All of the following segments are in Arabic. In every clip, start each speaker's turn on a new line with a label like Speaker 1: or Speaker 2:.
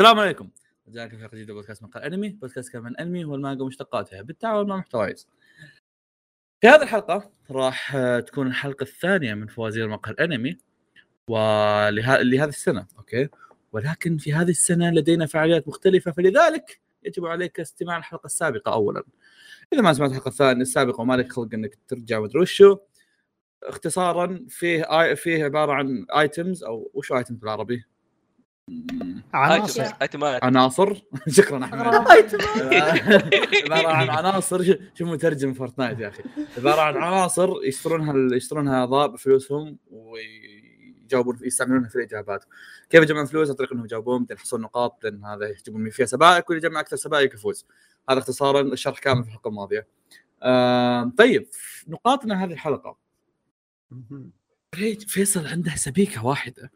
Speaker 1: السلام عليكم رجعكم في حلقه جديده بودكاست مقال انمي بودكاست كلام عن الانمي والمانجا ومشتقاتها بالتعاون مع محتوايز في هذه الحلقه راح آه، تكون الحلقه الثانيه من فوازير مقال انمي ولها... لهذه السنه اوكي ولكن في هذه السنه لدينا فعاليات مختلفه فلذلك يجب عليك استماع الحلقه السابقه اولا اذا ما سمعت الحلقه الثانيه السابقه وما لك خلق انك ترجع ومدري وشو اختصارا فيه آي... فيه عباره عن ايتمز او وشو ايتمز بالعربي؟
Speaker 2: عناصر
Speaker 3: أيتم- ايتمات
Speaker 1: عناصر شكرا احمد عباره عن عناصر شو- شو مترجم فورتنايت يا اخي عباره عن عناصر يشترونها يشترونها اعضاء بفلوسهم ويجاوبون يستعملونها في الاجابات كيف يجمعون فلوس عن طريق انهم يجاوبون بعدين يحصلون نقاط لان هذا يجيبون فيها سبائك واللي يجمع اكثر سبائك يفوز هذا اختصارا الشرح كامل في الحلقه الماضيه آم، طيب نقاطنا هذه الحلقه فريد- فيصل عنده سبيكه واحده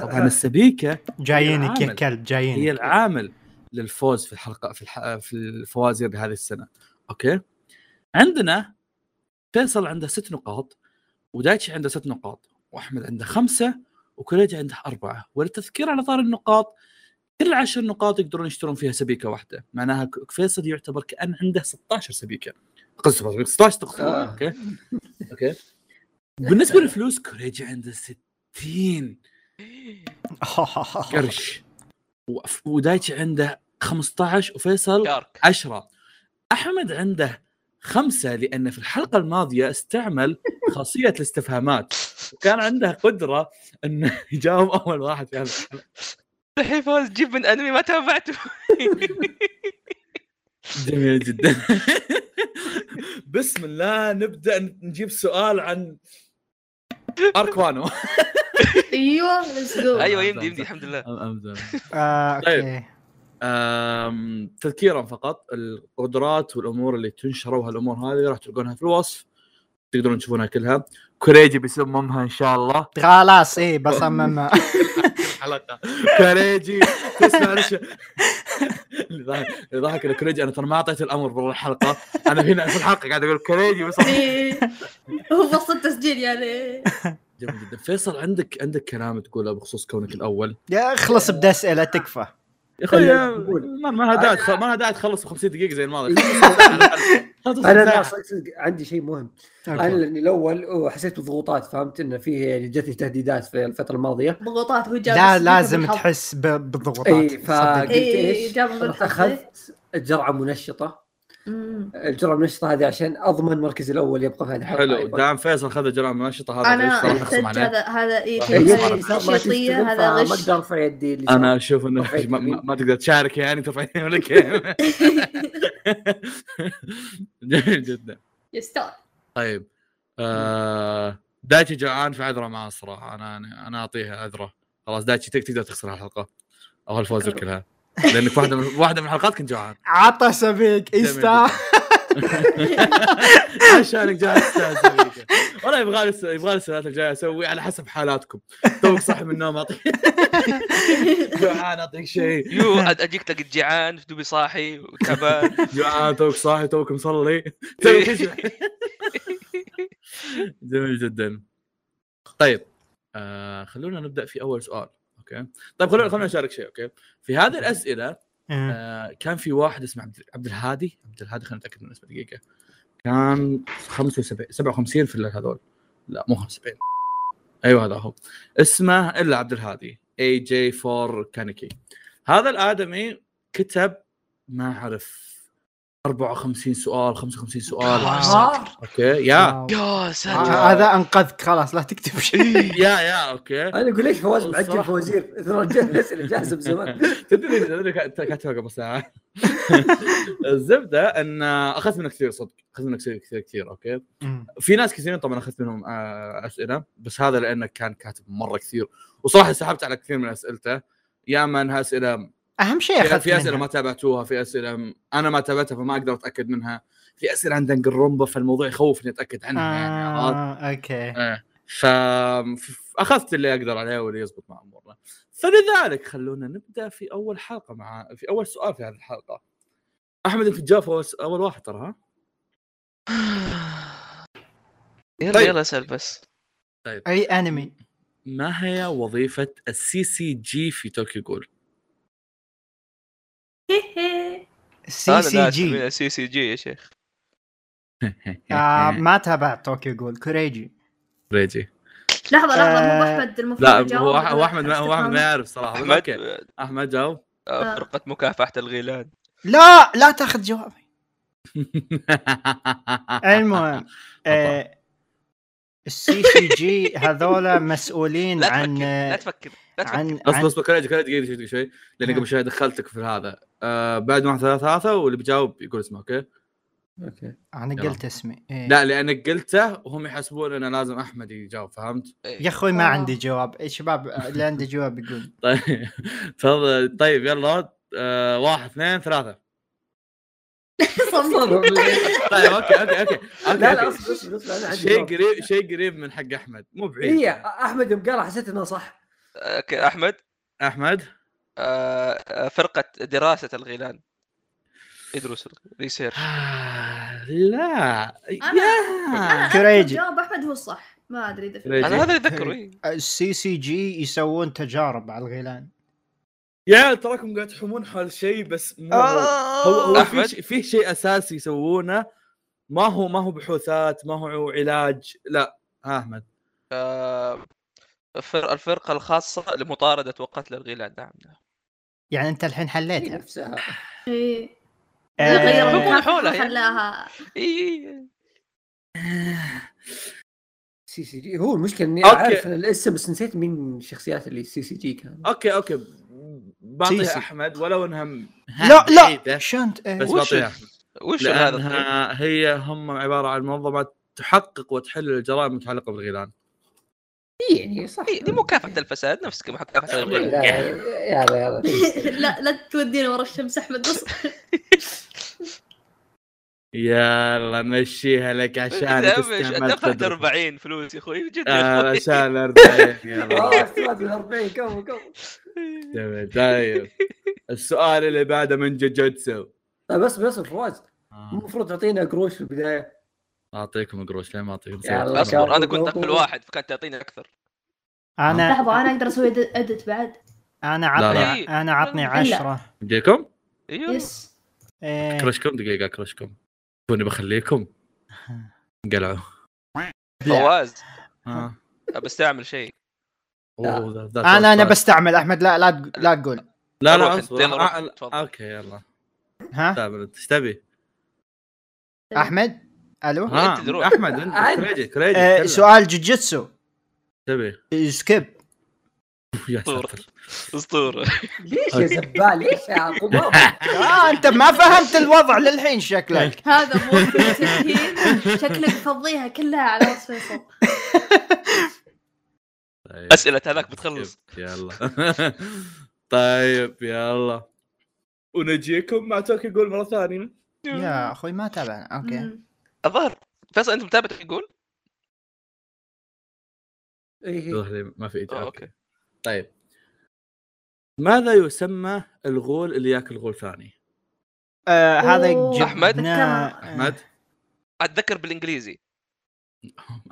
Speaker 1: طبعا السبيكه
Speaker 2: جايينك يا
Speaker 1: العامل.
Speaker 2: كلب
Speaker 1: هي
Speaker 2: جايينك
Speaker 1: العامل للفوز في الحلقه في الح... في الفوازير بهذه السنه اوكي عندنا فيصل عنده ست نقاط ودايتشي عنده ست نقاط واحمد عنده خمسه وكوليجي عنده اربعه وللتذكير على طار النقاط كل عشر نقاط يقدرون يشترون فيها سبيكه واحده معناها ك- فيصل يعتبر كان عنده 16 سبيكه قصدي 16 تقصد
Speaker 4: آه.
Speaker 1: اوكي اوكي بالنسبه للفلوس كوليجي عنده 60 قرش وف- ودايتشي عنده 15 وفيصل
Speaker 3: شارك
Speaker 1: 10 احمد عنده خمسة لأن في الحلقة الماضية استعمل خاصية الاستفهامات وكان عنده قدرة أنه يجاوب أول واحد في هذا
Speaker 3: الحين فوز جيب من انمي ما تابعته
Speaker 1: جميل جدا بسم الله نبدأ نجيب سؤال عن أركوانو
Speaker 4: ايوه ليتس جو
Speaker 3: ايوه يمدي يمدي الحمد لله
Speaker 2: آه،
Speaker 1: طيب.
Speaker 2: اوكي
Speaker 1: أم، تذكيرا فقط القدرات والامور اللي تنشروا هالامور هذه راح تلقونها في الوصف تقدرون تشوفونها كلها كوريجي بيسممها ان شاء الله
Speaker 2: خلاص ايه بصمم
Speaker 1: حلقه كوريجي تسمع ليش اللي ضاحك- اللي ضحك إنه كوريجي انا ترى ما اعطيت الامر بالحلقه الحلقه انا هنا في الحلقه قاعد اقول كوريجي بس
Speaker 4: إيه. هو في وسط التسجيل يعني
Speaker 1: جميل جدا فيصل عندك عندك كلام تقوله بخصوص كونك الاول
Speaker 2: يا اخلص بدي اسئله تكفى
Speaker 1: يا اخي
Speaker 5: أقول.
Speaker 1: ما ما لها داعي تخ- ما لها داعي تخلص ب 50 دقيقه زي الماضي
Speaker 5: انا لا صدق عندي شيء مهم انا
Speaker 2: أوكي.
Speaker 5: لاني الاول حسيت بضغوطات فهمت انه فيه يعني جتني تهديدات في الفتره الماضيه
Speaker 4: ضغوطات هو جاب
Speaker 2: لا
Speaker 4: السبيكة
Speaker 2: لازم
Speaker 4: بالحظ.
Speaker 2: تحس ب- بالضغوطات
Speaker 5: اي فقلت
Speaker 2: صدق.
Speaker 4: إيه، إيه،
Speaker 5: ايش
Speaker 4: جابوا
Speaker 5: رحت
Speaker 4: بالحظ.
Speaker 5: اخذت جرعه منشطه
Speaker 4: أمم.
Speaker 5: الجرعه المنشطه هذه عشان اضمن مركزي الاول يبقى في هذه الحلقه
Speaker 1: حلو
Speaker 5: أيضاً.
Speaker 1: دام فيصل خذ جرعه منشطه هذا
Speaker 4: انا
Speaker 1: صراحة أخصم
Speaker 4: احتج
Speaker 1: عليه.
Speaker 4: هذا هذا اي
Speaker 1: صراحة
Speaker 5: هي
Speaker 1: أخصم عليه.
Speaker 5: صار ما
Speaker 4: تشيطيه
Speaker 5: تشتغل،
Speaker 4: هذا
Speaker 5: فما
Speaker 4: غش
Speaker 5: اقدر ارفع يدي اللي
Speaker 1: انا
Speaker 5: صار.
Speaker 1: اشوف انه
Speaker 5: صحيح.
Speaker 1: ما, ما ما تقدر تشارك يعني ترفع يدين ولا كيف جميل جدا
Speaker 4: يستاهل
Speaker 1: طيب آه دايتشي جوعان فعذره معه الصراحه انا انا, أنا اعطيها عذره خلاص دايتشي تك- تقدر تخسر الحلقه او الفوز كلها لانك واحده من واحده من الحلقات كنت جوعان
Speaker 2: عطى سبيك
Speaker 1: جميل
Speaker 2: يستاهل
Speaker 1: جداً. عشانك جوعان تستاهل زويدة. والله يبغى لي الس- يبغى لي السنوات الجايه اسوي على حسب حالاتكم توك صاحي من النوم اعطيك جوعان اعطيك شيء
Speaker 3: يو أد- اجيك تلاقي جيعان في دوبي صاحي وتعبان
Speaker 1: جوعان توك صاحي توك مصلي تبي تشبع. جميل جدا طيب آه خلونا نبدا في اول سؤال اوكي طيب خلونا خلونا نشارك شيء اوكي في هذه الاسئله
Speaker 2: آه.
Speaker 1: آه كان في واحد اسمه عبد, عبد الهادي عبد الهادي خلينا نتاكد من اسمه دقيقه كان 75 57 في الليل هذول لا مو 75 ايوه هذا هو اسمه الا عبد الهادي اي جي 4 كانيكي هذا الادمي كتب ما اعرف 54 سؤال 55 سؤال
Speaker 4: آه.
Speaker 3: ساتر.
Speaker 1: اوكي يا
Speaker 3: يا
Speaker 2: آه،
Speaker 3: ساتر
Speaker 2: هذا انقذك خلاص لا تكتب شيء
Speaker 1: يا يا اوكي
Speaker 5: انا اقول ليش فواز معجل
Speaker 1: الصراحة.
Speaker 5: فوازير ترى جت الاسئله جاهزه من زمان
Speaker 1: تدري تدري كا- كاتبها قبل ساعه الزبده ان اخذت منه آه، كثير صدق اخذت منه كثير كثير كثير اوكي
Speaker 2: مم.
Speaker 1: في ناس كثيرين طبعا اخذت منهم آه، اسئله بس هذا لانه كان كاتب مره كثير وصراحه سحبت على كثير من اسئلته يا اما انها اسئله
Speaker 2: اهم شيء
Speaker 1: في,
Speaker 2: اخذت
Speaker 1: في اسئله ما
Speaker 2: إيه، منها.
Speaker 1: تابعتوها في اسئله م- انا ما تابعتها فما اقدر اتاكد منها في اسئله عند دنجرومبا فالموضوع يخوف اني اتاكد عنها يعني عرفت؟
Speaker 2: آه، اوكي
Speaker 1: إيه. ف اخذت اللي اقدر عليه واللي يزبط مع امورنا فلذلك خلونا نبدا في اول حلقه مع في اول سؤال في هذه الحلقه احمد انت تجاوب أول- اول واحد ترى ها
Speaker 2: آه.
Speaker 3: يلا
Speaker 1: طيب.
Speaker 3: يلا اسال بس
Speaker 2: اي انمي
Speaker 1: ما هي وظيفه السي سي جي في توكيو جول
Speaker 4: هي هي.
Speaker 2: سي سي جي
Speaker 3: سي سي جي يا شيخ
Speaker 2: آه، ما تابعت طوكيو جول كوريجي
Speaker 1: ريجي
Speaker 4: لحظه لحظه مو
Speaker 2: آه،
Speaker 4: احمد المفروض
Speaker 1: لا
Speaker 4: يجاوب
Speaker 1: هو
Speaker 4: ولا
Speaker 1: هو احمد ما هو احمد ما
Speaker 4: استفهام؟
Speaker 1: يعرف صراحه بس
Speaker 3: احمد
Speaker 1: اوكي احمد جاوب
Speaker 3: آه، فرقه مكافحه آه، الغيلان
Speaker 2: لا لا تاخذ جوابي المهم آه، السي سي جي هذولا مسؤولين
Speaker 3: لا
Speaker 2: عن
Speaker 3: تفكر لا تفكر لا تفكر
Speaker 2: عن
Speaker 1: اصبر
Speaker 2: عن
Speaker 1: اصبر كوريجي كوريجي دقيقه دقيقة شوي لاني
Speaker 2: نعم.
Speaker 1: قبل شوي دخلتك في هذا آه بعد واحد ثلاثة ثلاثة واللي بيجاوب يقول اسمه اوكي؟
Speaker 2: إيه.
Speaker 5: اوكي
Speaker 2: انا
Speaker 1: يلا.
Speaker 2: قلت اسمي إيه.
Speaker 1: لا لانك قلته وهم يحسبون انا لازم احمد يجاوب فهمت؟
Speaker 2: يا اخوي ما
Speaker 4: آه.
Speaker 2: عندي جواب إيه، شباب اللي عنده جواب يقول
Speaker 1: طيب تفضل طيب يلا آه واحد اثنين ثلاثة
Speaker 4: صمت.
Speaker 1: طيب اوكي اوكي اوكي, أوكي,
Speaker 5: لا لا
Speaker 1: أوكي.
Speaker 5: اصبر اصبر اصبر انا عندي
Speaker 1: شيء
Speaker 5: جواب.
Speaker 1: قريب شيء قريب من حق احمد مو بعيد
Speaker 5: هي احمد يوم قالها حسيت انها صح
Speaker 3: اوكي احمد
Speaker 1: احمد
Speaker 3: آه، آه، فرقه دراسه الغيلان يدرس ريسيرش
Speaker 1: لا
Speaker 4: أنا
Speaker 1: يا
Speaker 2: كوريجي.
Speaker 4: أذكر جواب احمد هو الصح ما ادري اذا في-
Speaker 1: كوريجي.
Speaker 3: انا هذا اللي اتذكره إيه.
Speaker 2: السي سي جي يسوون تجارب على الغيلان
Speaker 1: يا عيال تراكم قاعد تحومون حول شيء بس مو هو هو في
Speaker 3: أحمد؟
Speaker 1: شيء- في شيء اساسي يسوونه ما هو ما هو بحوثات ما هو علاج لا ها احمد
Speaker 3: الفر- الفرقه الخاصه لمطارده وقتل الغيلان نعم نعم.
Speaker 2: يعني انت الحين
Speaker 5: هي
Speaker 3: إيه.
Speaker 2: حليتها
Speaker 5: نفسها
Speaker 4: إيه.
Speaker 2: آه،
Speaker 4: غيروا
Speaker 3: بقول
Speaker 4: الكافي
Speaker 3: حولها يعني.
Speaker 4: وخلاها
Speaker 3: إيه.
Speaker 5: سي سي جي هو المشكله اني
Speaker 1: أوكي.
Speaker 5: عارف الاسم بس نسيت مين الشخصيات اللي سي سي جي كان
Speaker 1: اوكي اوكي بعطيها
Speaker 2: سيسي.
Speaker 1: احمد ولو انها م-
Speaker 2: لا لا
Speaker 1: بعيدة،
Speaker 2: شنت إيه.
Speaker 1: بس
Speaker 3: وش
Speaker 1: بعطيها أحمد.
Speaker 3: وش هذا الطيب؟
Speaker 1: لانها هي هم عباره عن منظمه تحقق وتحل الجرائم المتعلقه بالغيلان
Speaker 5: إيه، يعني صح
Speaker 3: إيه، دي مكافحه الفساد نفس كما مكافحه
Speaker 5: لا،
Speaker 3: الغيلان
Speaker 5: لا، يلا يلا
Speaker 4: لا لا تودينا ورا الشمس احمد بس
Speaker 1: يلا مشيها لك عشان تستعمل
Speaker 3: دفعت
Speaker 1: قدرتك.
Speaker 3: 40 فلوس يا اخوي جد يا
Speaker 1: آه،
Speaker 3: أخوي.
Speaker 1: عشان 40 يلا
Speaker 5: آه، استفاد من 40 قبل قبل
Speaker 1: تمام، طيب السؤال اللي بعده من جوجوتسو
Speaker 5: طيب بس بس فواز المفروض تعطينا قروش في البدايه
Speaker 1: اعطيكم آه. قروش لين ما اعطيكم
Speaker 5: يلا،
Speaker 1: صوت.
Speaker 5: شاطر.
Speaker 3: اصبر انا كنت اقبل واحد فكانت تعطيني اكثر
Speaker 2: انا
Speaker 4: لحظه انا اقدر اسوي ادت بعد
Speaker 2: انا
Speaker 1: لا،
Speaker 3: لا.
Speaker 2: عطني انا عطني
Speaker 3: إلا.
Speaker 2: عشرة
Speaker 1: بديكم
Speaker 3: ايوه
Speaker 4: يس
Speaker 2: إيه.
Speaker 1: كرشكم دقيقه كرشكم كوني بخليكم انقلعوا
Speaker 3: فواز
Speaker 1: آه.
Speaker 3: بستعمل شيء
Speaker 1: أوه، ذا- ذا
Speaker 2: انا انا
Speaker 1: سؤال.
Speaker 2: بستعمل احمد لا لا تق- لا تقول
Speaker 1: لا لا
Speaker 3: روح
Speaker 1: اصبر
Speaker 3: يلا روح،
Speaker 1: آه، لا،
Speaker 3: تفضل.
Speaker 1: اوكي يلا
Speaker 2: ها
Speaker 1: تعال، انت ايش تبي؟
Speaker 2: احمد الو
Speaker 1: ها،
Speaker 3: أنت اللي روح.
Speaker 1: احمد انت
Speaker 5: أنا.
Speaker 1: كريجي كريجي
Speaker 2: إيه،
Speaker 1: تكلم.
Speaker 2: سؤال جوجيتسو
Speaker 1: تبي
Speaker 2: سكيب
Speaker 1: يا
Speaker 3: طور.
Speaker 1: ساتر
Speaker 3: اسطوره
Speaker 5: ليش يا زبال ليش يا قمامة؟
Speaker 2: آه انت ما فهمت الوضع للحين شكلك
Speaker 4: هذا مو تسهيل شكلك فضيها كلها على راس فيصل
Speaker 1: طيب.
Speaker 3: اسئله هناك بتخلص
Speaker 1: يلا طيب يلا ونجيكم مع توك يقول مره ثانيه
Speaker 2: يا اخوي ما تابعنا اوكي
Speaker 4: مم.
Speaker 3: الظاهر فيصل انت متابع يقول؟
Speaker 5: إيه، إيه.
Speaker 1: ظهري ما في
Speaker 3: آه،
Speaker 1: اجابه
Speaker 3: اوكي
Speaker 1: طيب ماذا يسمى الغول اللي ياكل غول ثاني؟
Speaker 2: آه، هذا آه،
Speaker 4: أوه،
Speaker 3: أحمد؟
Speaker 4: آه.
Speaker 2: جبناه-
Speaker 1: احمد
Speaker 3: اتذكر بالانجليزي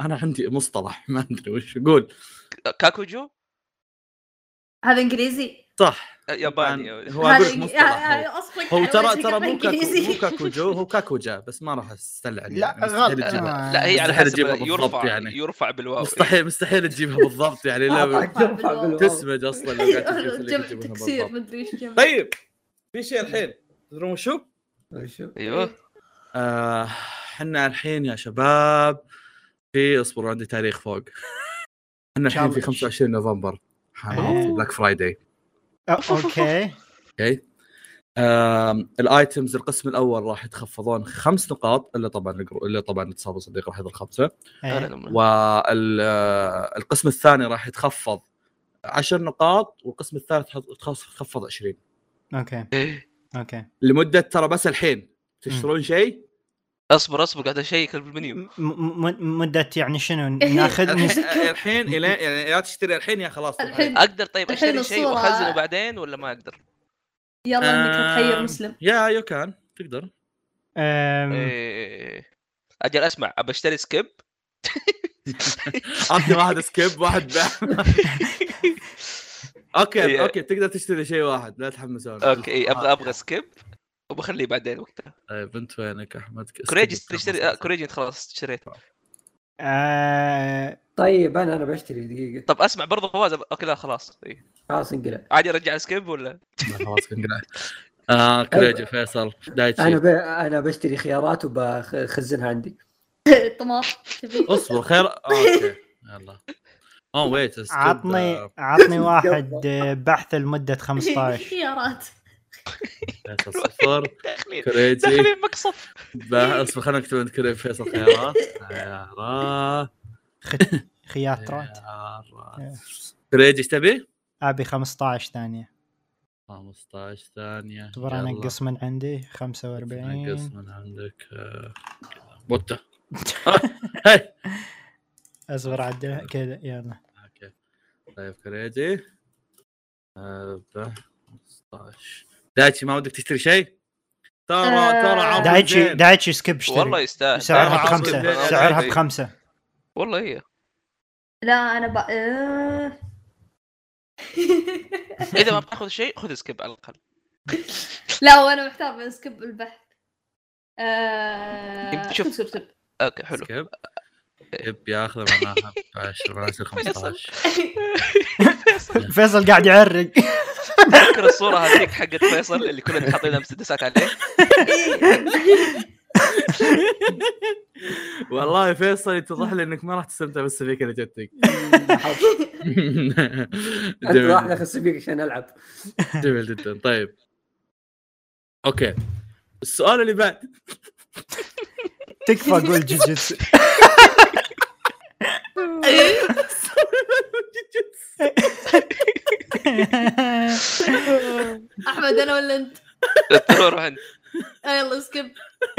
Speaker 1: انا عندي مصطلح ما ادري وش قول
Speaker 3: كاكوجو
Speaker 4: هذا انجليزي
Speaker 1: صح
Speaker 3: آه، ياباني أو-
Speaker 1: هو اقول لك
Speaker 4: إنج-
Speaker 1: مصطلح هو.
Speaker 4: آه، اصبك
Speaker 1: هو
Speaker 4: على
Speaker 1: ترى
Speaker 4: وجهك
Speaker 1: ترى مو كاكو مو
Speaker 4: انجليزي
Speaker 1: كاكوجو هو كاكوجا بس ما راح استلعن
Speaker 2: لا،
Speaker 1: يعني، مستحيل
Speaker 2: غلط.
Speaker 1: تجيبها.
Speaker 2: آه.
Speaker 3: لا هي على
Speaker 1: مستحيل
Speaker 3: حسب
Speaker 1: أجيبها بالضبط
Speaker 3: يرفع
Speaker 1: يعني.
Speaker 3: يعني. يرفع بالواو
Speaker 1: مستحيل مستحيل تجيبها بالضبط يعني
Speaker 2: آه،
Speaker 1: لا
Speaker 5: أعطاك دفع بالواو.
Speaker 1: تسمج اصلا لو قاعد تجيب اللي
Speaker 4: آه، جمع
Speaker 1: تجيبها
Speaker 4: تكسير
Speaker 1: بالضبط.
Speaker 4: ما ادري ايش جمع
Speaker 1: طيب في شيء الحين تدرون شو؟
Speaker 5: شوف.
Speaker 3: ايوه
Speaker 1: آه، احنا الحين يا شباب في اصبروا عندي تاريخ فوق احنا الحين في
Speaker 2: Challenge.
Speaker 1: 25 نوفمبر
Speaker 2: أوه.
Speaker 1: بلاك فرايداي
Speaker 2: آه، اوكي
Speaker 1: اوكي آم، الايتمز القسم الاول راح يتخفضون خمس نقاط الا طبعا الجرو- الا طبعا اتصال صديق راح يضل خمسه
Speaker 2: إيه.
Speaker 1: والقسم آه، الثاني راح يتخفض 10 نقاط والقسم الثالث حط- يتخفض 20
Speaker 2: اوكي
Speaker 3: إيه.
Speaker 2: اوكي
Speaker 1: لمده ترى بس الحين تشترون شيء
Speaker 3: اصبر اصبر قاعد اشيك بالمنيو
Speaker 2: م- م- م- مدة يعني شنو
Speaker 4: إيه.
Speaker 2: ناخذ نس-
Speaker 1: الحين الحين إلى- يعني يا تشتري الحين يا خلاص
Speaker 4: الحين
Speaker 3: اقدر طيب
Speaker 4: الحين
Speaker 3: اشتري شيء
Speaker 4: الصورة-
Speaker 3: واخزنه بعدين ولا ما اقدر؟
Speaker 4: يلا انك
Speaker 1: آم.
Speaker 4: تخير مسلم
Speaker 1: يا يو كان تقدر
Speaker 2: آم،
Speaker 3: إيه. اجل اسمع ابى اشتري سكيب
Speaker 1: عطني واحد سكيب واحد باع اوكي
Speaker 3: إيه.
Speaker 1: اوكي تقدر تشتري شيء واحد لا تحمسون
Speaker 3: اوكي ابغى ابغى سكيب وبخليه بعدين وقتها
Speaker 1: طيب انت وينك احمد
Speaker 3: كوريجي تشتري آه، كوريجي انت خلاص اشتريت
Speaker 2: آه...
Speaker 5: طيب انا انا بشتري دقيقه
Speaker 3: طب اسمع برضه فواز أب- اوكي لا خلاص إيه.
Speaker 5: خلاص انقلع
Speaker 3: عادي ارجع سكيب ولا
Speaker 1: لا، خلاص كنقلع. اه كوريجي فيصل دايتشي
Speaker 5: انا ب... انا بشتري خيارات وبخزنها عندي
Speaker 4: طماط تبي
Speaker 1: اصبر خير اوكي يلا Oh, اوه ويت اسكيب.
Speaker 2: عطني
Speaker 1: آه،
Speaker 2: عطني واحد آه، بحث لمده 15
Speaker 4: خيارات
Speaker 1: فيصل صفر
Speaker 3: داخلين
Speaker 1: كوريجي
Speaker 3: داخلين مقصف
Speaker 1: با- اصبر خلينا نكتب عند كوريجي فيصل خيارات خيارات
Speaker 2: خيارات
Speaker 1: خيارات. كوريجي ايش تبي؟
Speaker 2: ابي 15 ثانيه
Speaker 1: 15 ثانية
Speaker 2: اصبر
Speaker 1: يلا.
Speaker 2: انقص من عندي 45
Speaker 1: نقص من عندك آه، بوتا هاي
Speaker 2: اصبر عدل كذا يلا
Speaker 1: اوكي طيب كريجي آه، ب- 15 دايتشي ما ودك تشتري شيء؟ ترى
Speaker 4: آه،
Speaker 1: ترى عرض
Speaker 2: دايتشي
Speaker 1: زين.
Speaker 2: دايتشي سكيب
Speaker 3: والله
Speaker 2: اشتري
Speaker 3: يستاهل
Speaker 1: دايتشي عرض
Speaker 2: سعرها
Speaker 3: عاوز
Speaker 1: زين.
Speaker 2: بخمسه
Speaker 3: كذا.
Speaker 2: سعرها
Speaker 3: إيه.
Speaker 2: بخمسه
Speaker 3: والله هي
Speaker 4: لا انا ب... آه.
Speaker 3: اذا ما بتاخذ شيء خذ سكيب على الاقل
Speaker 4: لا وانا محتار بين سكب البحث آه...
Speaker 3: شوف.
Speaker 4: سكب سكب
Speaker 3: اوكي حلو
Speaker 1: سكيب سكيب ياخذه معناها 15 معناها 15
Speaker 2: فيصل قاعد يعرق
Speaker 3: تذكر الصوره هذيك حقت فيصل اللي كنا حاطينها مسدسات عليه
Speaker 1: والله فيصل يتضح لي انك ما راح تستمتع بالسبيكه اللي جتك
Speaker 5: انت راح اخس فيك عشان العب
Speaker 1: جميل جدا طيب اوكي السؤال اللي بعد
Speaker 2: تكفى قول جوجيتسو
Speaker 4: إيه. احمد انا ولا انت؟
Speaker 3: روح انت
Speaker 4: آه، يلا سكب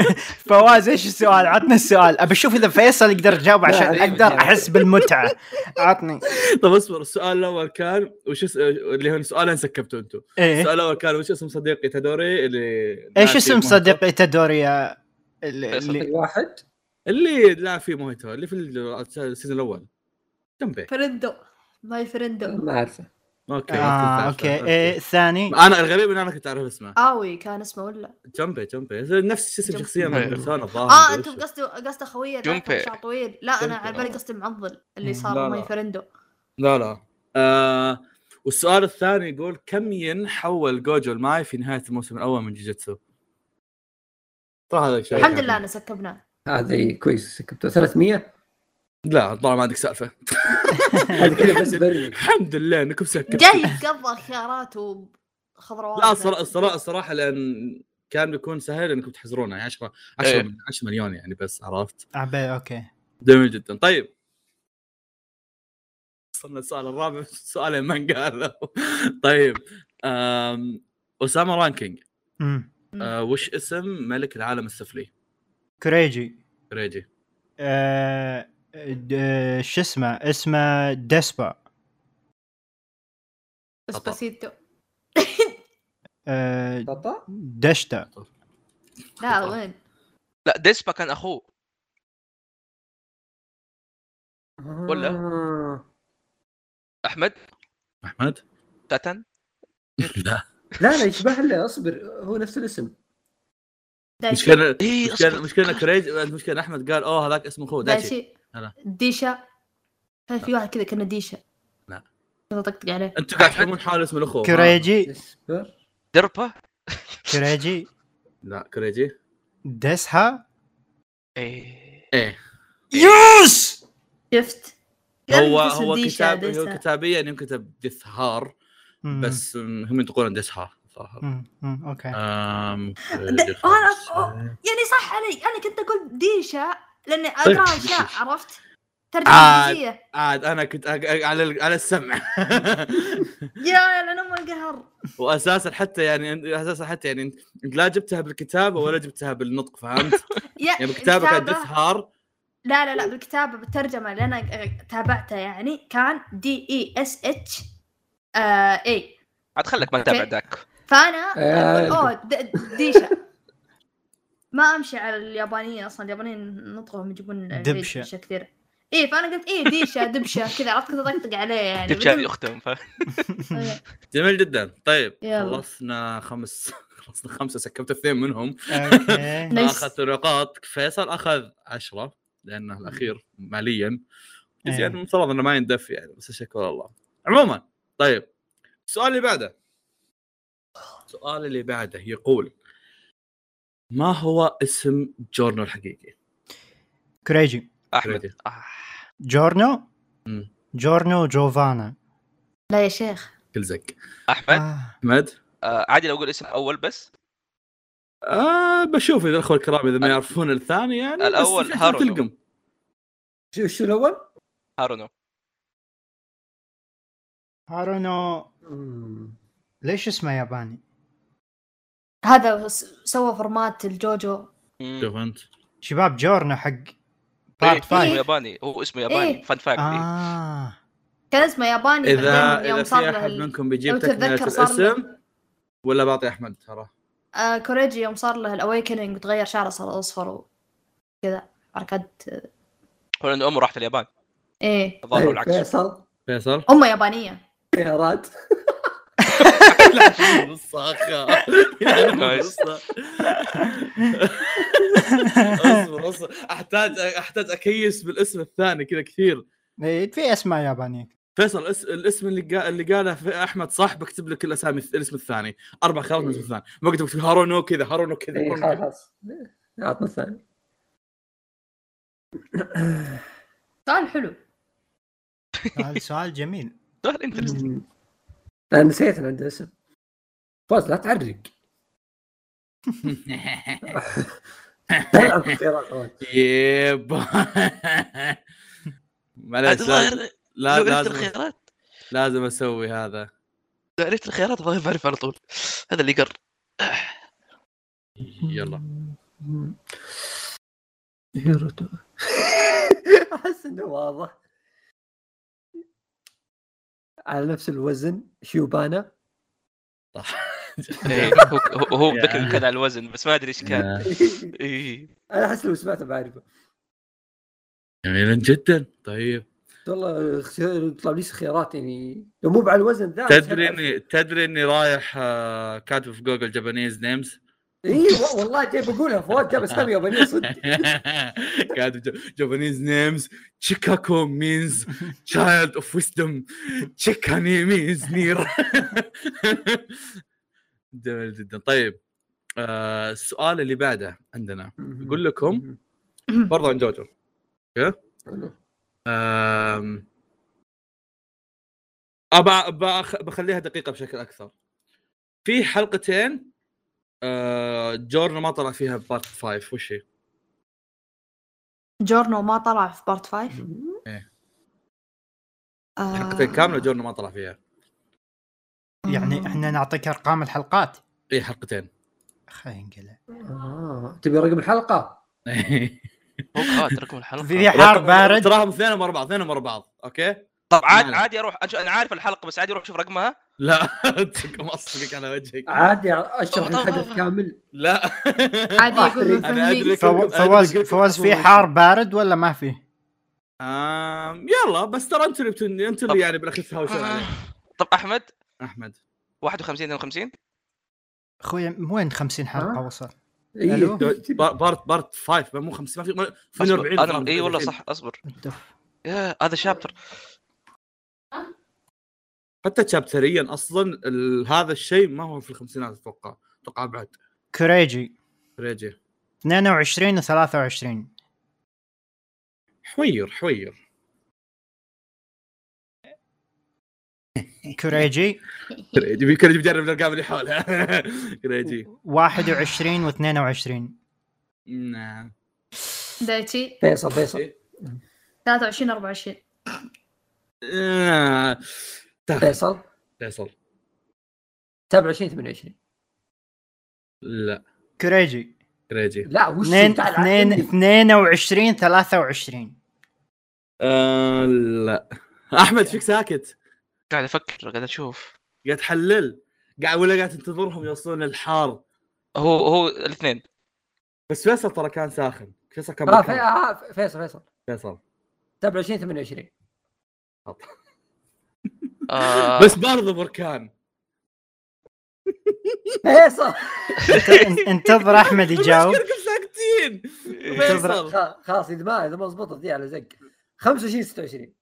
Speaker 1: طيب.
Speaker 2: فواز ايش السؤال عطني السؤال ابى اشوف اذا فيصل يقدر يجاوب
Speaker 5: لا،
Speaker 2: عشان
Speaker 5: أبي
Speaker 2: اقدر
Speaker 5: أجاوب.
Speaker 2: احس بالمتعه عطني
Speaker 1: طب طيب، اصبر السؤال الاول كان وش اس... اللي هو سؤالين سكبتوا انتم
Speaker 2: ايه
Speaker 1: السؤال الاول كان وش اسم صديقي تدوري اللي
Speaker 2: ايش اسم صديقي تدوريا اللي,
Speaker 3: فيصل.
Speaker 2: اللي
Speaker 5: طيب، واحد
Speaker 1: اللي لاعب فيه موهيتو اللي في ال- السيزون الاول جنبي
Speaker 4: فرندو ماي فرندو
Speaker 5: ما اعرفه
Speaker 1: اوكي ما
Speaker 2: اه
Speaker 1: كنت
Speaker 2: اوكي
Speaker 1: أعرف.
Speaker 2: ايه الثاني
Speaker 1: انا الغريب ان انا كنت اعرف اسمه
Speaker 4: اوي كان اسمه ولا؟
Speaker 1: جنبي جنبي نفس اسم
Speaker 4: جنبي.
Speaker 1: شخصيه من بيرسونا الظاهر
Speaker 4: اه
Speaker 1: مدري
Speaker 4: انتم
Speaker 1: وش.
Speaker 4: قصدي قصده خويه
Speaker 3: جمبي.
Speaker 4: شعر طويل لا انا
Speaker 1: جمبي،
Speaker 4: على بالي
Speaker 1: آه.
Speaker 4: قصدي معضل اللي
Speaker 1: لا، لا.
Speaker 4: صار ماي فرندو
Speaker 1: لا لا آه والسؤال الثاني يقول كم ين حول جوجو الماي في نهايه الموسم الاول من جوجيتسو؟ طلع هذا شيء
Speaker 4: الحمد لله انا سكبناه
Speaker 5: هذا كويس سكبته 300
Speaker 1: لا طلع ما عندك سالفه
Speaker 5: هذا كذا بس برني
Speaker 1: الحمد لله انكم سكتوا
Speaker 4: جاي قبل خيارات وخضروات
Speaker 1: لا الصراحه الصراحه الصراحه لان كان بيكون سهل انكم تحزرونه يعني 10 10
Speaker 3: إيه.
Speaker 1: من 10 مليون يعني بس عرفت
Speaker 2: عبي اوكي
Speaker 1: جميل جدا طيب وصلنا السؤال الرابع سؤالين ما انقالوا طيب أم، اسامه رانكينج
Speaker 2: امم
Speaker 1: أه، وش اسم ملك العالم السفلي؟
Speaker 2: كريجي
Speaker 1: ريجي
Speaker 2: آه، د- آه، شو اسمه اسمه ديسبا
Speaker 1: خطأ.
Speaker 4: اسباسيتو
Speaker 2: آه،
Speaker 5: خطا
Speaker 2: دشتا
Speaker 4: لا وين؟
Speaker 3: لا ديسبا كان اخوه ولا؟
Speaker 5: آه.
Speaker 3: احمد
Speaker 1: احمد؟
Speaker 3: تاتن
Speaker 1: لا
Speaker 5: لا لا يشبه له اصبر هو نفس الاسم
Speaker 4: دايشي
Speaker 1: مشكلة
Speaker 3: اي
Speaker 1: مشكلة مشكلة كريج المشكلة احمد قال اوه هذاك اسمه اخوه دايتشي
Speaker 4: دايشي
Speaker 1: هلا.
Speaker 4: ديشا كان في واحد كذا كنا ديشا
Speaker 1: لا. أه.
Speaker 4: كذا طقطق عليه
Speaker 1: انتم قاعد تحاولون حال اسم الاخوه ما-
Speaker 2: كريجي
Speaker 5: اصبر
Speaker 3: دربه
Speaker 2: كريجي
Speaker 1: لا كريجي
Speaker 2: دسها
Speaker 3: ايه
Speaker 1: ايه
Speaker 2: يوس
Speaker 4: شفت؟
Speaker 1: هو
Speaker 4: قلت اسم
Speaker 1: هو
Speaker 4: ديشا،
Speaker 1: كتاب
Speaker 4: ديسا.
Speaker 1: هو كتابيا ينكتب ديث هار
Speaker 2: مم.
Speaker 1: بس آه. هم ينطقون ديث هار صراحه
Speaker 2: مم. مم. اوكي
Speaker 1: أم،
Speaker 4: د- أعرف- يعني صح علي انا كنت اقول ديشا لاني
Speaker 1: طيب.
Speaker 4: اقرا اشياء عرفت؟ ترجمه
Speaker 1: عاد.
Speaker 4: انجليزيه
Speaker 1: عاد انا كنت أق- أق- على ال- على السمع
Speaker 4: يا لان ام القهر
Speaker 1: واساسا حتى يعني اساسا حتى يعني انت لا جبتها بالكتابه ولا جبتها بالنطق فهمت؟
Speaker 4: يا
Speaker 1: يعني بالكتابه كانت ديث
Speaker 4: الكتابة-
Speaker 1: هار
Speaker 4: لا لا لا بالكتابه بالترجمه اللي انا أ- تابعتها يعني كان E دي اي اس اتش اي
Speaker 3: عاد خلك ما تتابع
Speaker 4: أوكي. يعني
Speaker 3: ذاك
Speaker 4: فانا
Speaker 5: آه.
Speaker 4: أقول اوه د- ديشا ما امشي على اليابانيين اصلا اليابانيين نطقهم يجيبون العيد
Speaker 2: دبشة.
Speaker 4: اشياء كثيره ايه فانا قلت ايه ديشه دبشه كذا عرفت كنت اطقطق عليه يعني
Speaker 3: تبكي هذه
Speaker 4: بدون-
Speaker 3: اختهم ف...
Speaker 4: إيه.
Speaker 1: جميل جدا طيب
Speaker 4: يلا.
Speaker 1: خلصنا خمس خلصنا خمسه سكبت اثنين منهم
Speaker 2: أوكي.
Speaker 4: نايس.
Speaker 1: اخذت نقاط فيصل اخذ عشرة لانه الاخير ماليا بس
Speaker 2: إيه.
Speaker 1: يعني المفترض انه ما يندف يعني بس شكر الله عموما طيب السؤال اللي بعده السؤال اللي بعده يقول ما هو اسم جورنو الحقيقي؟
Speaker 2: كريجي
Speaker 3: احمد
Speaker 1: ريدي.
Speaker 3: آه.
Speaker 2: جورنو
Speaker 1: مم.
Speaker 2: جورنو جوفانا
Speaker 4: لا يا شيخ
Speaker 1: كل زق
Speaker 3: احمد
Speaker 2: آه.
Speaker 1: احمد
Speaker 3: آه عادي لو اقول اسم اول بس
Speaker 1: آه بشوف اذا الاخوه الكرام اذا ما
Speaker 3: ال-
Speaker 1: يعرفون الثاني يعني بس
Speaker 3: الأول
Speaker 1: في احتمال
Speaker 3: هارولو.
Speaker 1: تلقم
Speaker 5: شو شو الاول؟
Speaker 3: هارونو
Speaker 2: هارونو
Speaker 5: مم.
Speaker 2: ليش اسمه ياباني؟
Speaker 4: هذا هو س- سوى فورمات الجوجو
Speaker 3: مم.
Speaker 1: شوف انت
Speaker 2: شباب جورنو حق
Speaker 3: إيه،
Speaker 2: بارت
Speaker 3: اسمه
Speaker 2: 5
Speaker 3: ياباني هو اسمه ياباني
Speaker 4: إيه.
Speaker 3: فان فاكت إيه.
Speaker 2: اه
Speaker 4: كان اسمه ياباني
Speaker 1: اذا
Speaker 4: بعدين
Speaker 1: اذا في احد
Speaker 4: ال-
Speaker 1: منكم بيجيب
Speaker 4: لو
Speaker 1: تكمله
Speaker 4: تتذكر صار له-
Speaker 1: الاسم ولا بعطي احمد ترى
Speaker 4: آه كوريجي يوم صار له الاويكننج تغير شعره صار اصفر وكذا حركات
Speaker 3: هو لانه امه راحت اليابان
Speaker 4: ايه
Speaker 3: الظاهر
Speaker 5: إيه،
Speaker 3: والعكس
Speaker 5: فيصل إيه،
Speaker 1: فيصل
Speaker 4: امه يابانيه
Speaker 5: خيارات
Speaker 1: لا الصاخة يعني
Speaker 3: نايس.
Speaker 1: اصبر اصبر احتاج احتاج اكيس بالاسم الثاني كذا كثير
Speaker 2: إيه، في اسماء يابانية
Speaker 1: فيصل اس- الاسم اللي قا- اللي قاله في احمد صح بكتب لك الاسامي الاسم الثاني اربع خيارات من الاسم الثاني ما قلت بكتب هارونو كذا هارونو كذا
Speaker 5: إيه،
Speaker 1: هارونو كذا.
Speaker 5: خلاص عطنا الثاني
Speaker 4: سؤال حلو
Speaker 2: سؤال- سؤال جميل
Speaker 3: سؤال انترستنج
Speaker 5: مم. انا نسيت انا عندي اسم فوز لا تعرق أعطنا خيارات أول.
Speaker 1: يب معليش لازم-
Speaker 3: الظاهر
Speaker 1: لا-
Speaker 3: لو عرفت
Speaker 1: لازم
Speaker 3: الخيارات
Speaker 1: لازم اسوي هذا
Speaker 3: لو عرفت الخيارات الظاهر بعرف على طول هذا اللي قر
Speaker 1: يلا
Speaker 5: مم. هيروتو احس انه واضح على نفس الوزن شيوبانا
Speaker 3: إيه، هو هو- هو ذكر كان على الوزن بس ما ادري ايش كان إيه.
Speaker 5: انا احس لو سمعته بعرفه
Speaker 1: جميلا جدا طيب
Speaker 5: والله خس- يطلع لي خيارات يعني لو مو على الوزن ذا
Speaker 1: تدري اني تدري اني رايح آه، كاتب في جوجل جابانيز نيمز
Speaker 5: اي إيه، والله جاي بقولها فواد جاب اسامي يابانيه صدق
Speaker 1: كاتب جابانيز نيمز تشيكاكو مينز تشايلد اوف ويستم تشيكاني مينز نير جميل جدا طيب آه، السؤال اللي بعده عندنا يقول لكم برضه عن جوجو اوكي أم... أبا آه، بأخ... بخليها دقيقه بشكل اكثر في حلقتين أه... جورنا ما طلع فيها بارت 5 وش هي؟
Speaker 4: جورنو ما طلع في بارت 5
Speaker 1: إيه.
Speaker 4: آه...
Speaker 1: حلقتين كامله جورنا ما طلع فيها
Speaker 2: يعني احنا نعطيك ارقام الحلقات
Speaker 1: اي إيه، حلقتين
Speaker 2: خلينا نقلع
Speaker 5: آه، تبي رقم الحلقه؟
Speaker 3: هو قاعد رقم الحلقه
Speaker 2: في حار بارد
Speaker 1: تراهم اثنين ورا بعض اثنين ورا بعض اوكي؟
Speaker 3: طب عادي
Speaker 1: ماله.
Speaker 3: عادي اروح أشوف- انا عارف الحلقه بس عادي اروح اشوف رقمها
Speaker 1: لا مصدق على وجهك
Speaker 5: عادي اشرح
Speaker 3: طب- طب-
Speaker 5: الحدث
Speaker 3: طب.
Speaker 5: كامل
Speaker 1: لا
Speaker 4: عادي يقولوا
Speaker 1: أنا أدري.
Speaker 4: فهمني
Speaker 2: فو- فواز فواز في حار بارد ولا ما في؟
Speaker 1: أم... يلا بس ترى انتوا اللي بتن... انتوا اللي يعني بالاخير
Speaker 3: آه.
Speaker 1: تهاوشون عليه
Speaker 3: طب احمد
Speaker 1: احمد
Speaker 3: 51 52
Speaker 2: اخوي وين 50 حلقه
Speaker 5: ها؟
Speaker 2: وصل؟
Speaker 5: إيه.
Speaker 2: ألو؟
Speaker 1: بار- بارت بارت 5 مو 50 ما في ما- 48
Speaker 3: انا اي إيه والله صح اصبر
Speaker 2: الدف.
Speaker 3: يا هذا شابتر
Speaker 1: حتى شابتريا اصلا ال- هذا الشيء ما هو في الخمسينات اتوقع اتوقع بعد
Speaker 2: كريجي
Speaker 1: ريجي
Speaker 2: 22 و 23
Speaker 1: حوير حوير
Speaker 2: كريجي
Speaker 1: ريجي كريجي بيجرب الارقام اللي حولها ريجي
Speaker 2: 21 و 22
Speaker 1: نعم
Speaker 4: دايتشي
Speaker 5: فيصل فيصل
Speaker 4: 23 24
Speaker 1: آه. تاخذ
Speaker 5: فيصل
Speaker 1: فيصل
Speaker 5: 27 28
Speaker 1: لا
Speaker 2: كريجي
Speaker 1: ريجي
Speaker 5: لا وش
Speaker 2: 2
Speaker 5: تعال عاد
Speaker 2: 2
Speaker 5: عندي.
Speaker 2: 22 23
Speaker 1: آه لا احمد فيك ساكت
Speaker 3: قاعد افكر قاعد اشوف
Speaker 1: قاعد تحلل قاعد ولا قاعد تنتظرهم يوصلون للحار
Speaker 3: هو هو الاثنين
Speaker 1: بس فيصل ترى كان ساخن فيصل كان
Speaker 5: آه،
Speaker 1: بكار.
Speaker 5: في- آه، فيصل فيصل
Speaker 1: فيصل
Speaker 5: 27 28
Speaker 3: آه
Speaker 1: بس برضو بركان
Speaker 5: فيصل
Speaker 2: انت- انتظر احمد يجاوب
Speaker 1: كلكم ساكتين
Speaker 2: تضرب.
Speaker 3: إيه،
Speaker 1: فيصل
Speaker 5: خ- خلاص اذا ما اذا ما زبطت دي على زق 25 26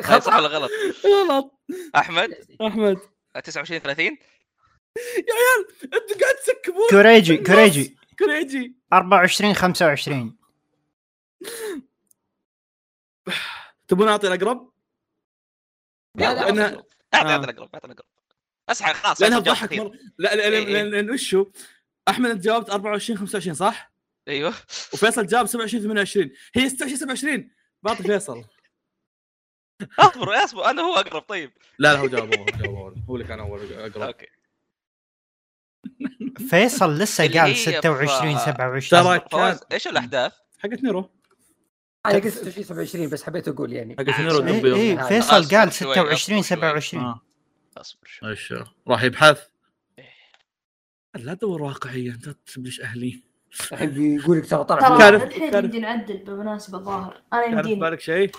Speaker 3: هاي صح ولا غلط
Speaker 1: غلط
Speaker 3: احمد
Speaker 1: احمد
Speaker 3: 29 30
Speaker 1: انتوا قاعد تسكبون
Speaker 2: كوريجي كوريجي
Speaker 1: كوريجي
Speaker 2: 24 25
Speaker 1: تبون اعطي الاقرب؟
Speaker 3: يلا،
Speaker 5: لا،
Speaker 1: لأنها-
Speaker 3: أعطنا- اعطنا
Speaker 1: آه.
Speaker 3: اعطنا القرب اعطنا القرب اسحب خلاص
Speaker 1: لانها
Speaker 3: أنت جاوبت
Speaker 1: تضحك
Speaker 3: كثير.
Speaker 1: مره لا لا
Speaker 3: إيه، إيه.
Speaker 1: لان لان وش هو؟ احمد انت جاوبت 24 25 صح؟
Speaker 3: ايوه
Speaker 1: وفيصل جاوب 27 28 هي 26 27 بعطي فيصل
Speaker 3: اصبر اصبر انا هو اقرب طيب
Speaker 1: لا لا هو جاوب أول، هو جاوب أول. هو اللي كان اول اقرب
Speaker 3: اوكي
Speaker 2: فيصل لسه
Speaker 3: اللي
Speaker 2: قال
Speaker 3: هي
Speaker 2: 26
Speaker 3: ف-
Speaker 2: 27
Speaker 1: ترى-
Speaker 3: فواز ايش الاحداث؟
Speaker 1: حقت نيرو
Speaker 5: انا يعني قلت 26 27 بس حبيت اقول يعني
Speaker 1: حقت نيرو
Speaker 3: إيه،
Speaker 2: اي
Speaker 1: الطبية.
Speaker 2: اي
Speaker 5: هذا.
Speaker 2: فيصل
Speaker 3: أصبر
Speaker 2: قال
Speaker 3: شوي،
Speaker 2: 26
Speaker 3: أصبر شوي.
Speaker 2: 27
Speaker 1: آه،
Speaker 3: اصبر شوي.
Speaker 1: ايش راح يبحث لا تدور واقعية انت تبلش اهلي
Speaker 5: الحين بيقول لك ترى طلع
Speaker 1: كان-
Speaker 4: ترى
Speaker 1: كارف-
Speaker 4: الحين
Speaker 1: كارف.
Speaker 4: يمدي نعدل بالمناسبه ظاهر انا
Speaker 1: كان في
Speaker 4: يمديني
Speaker 1: بالك شيء؟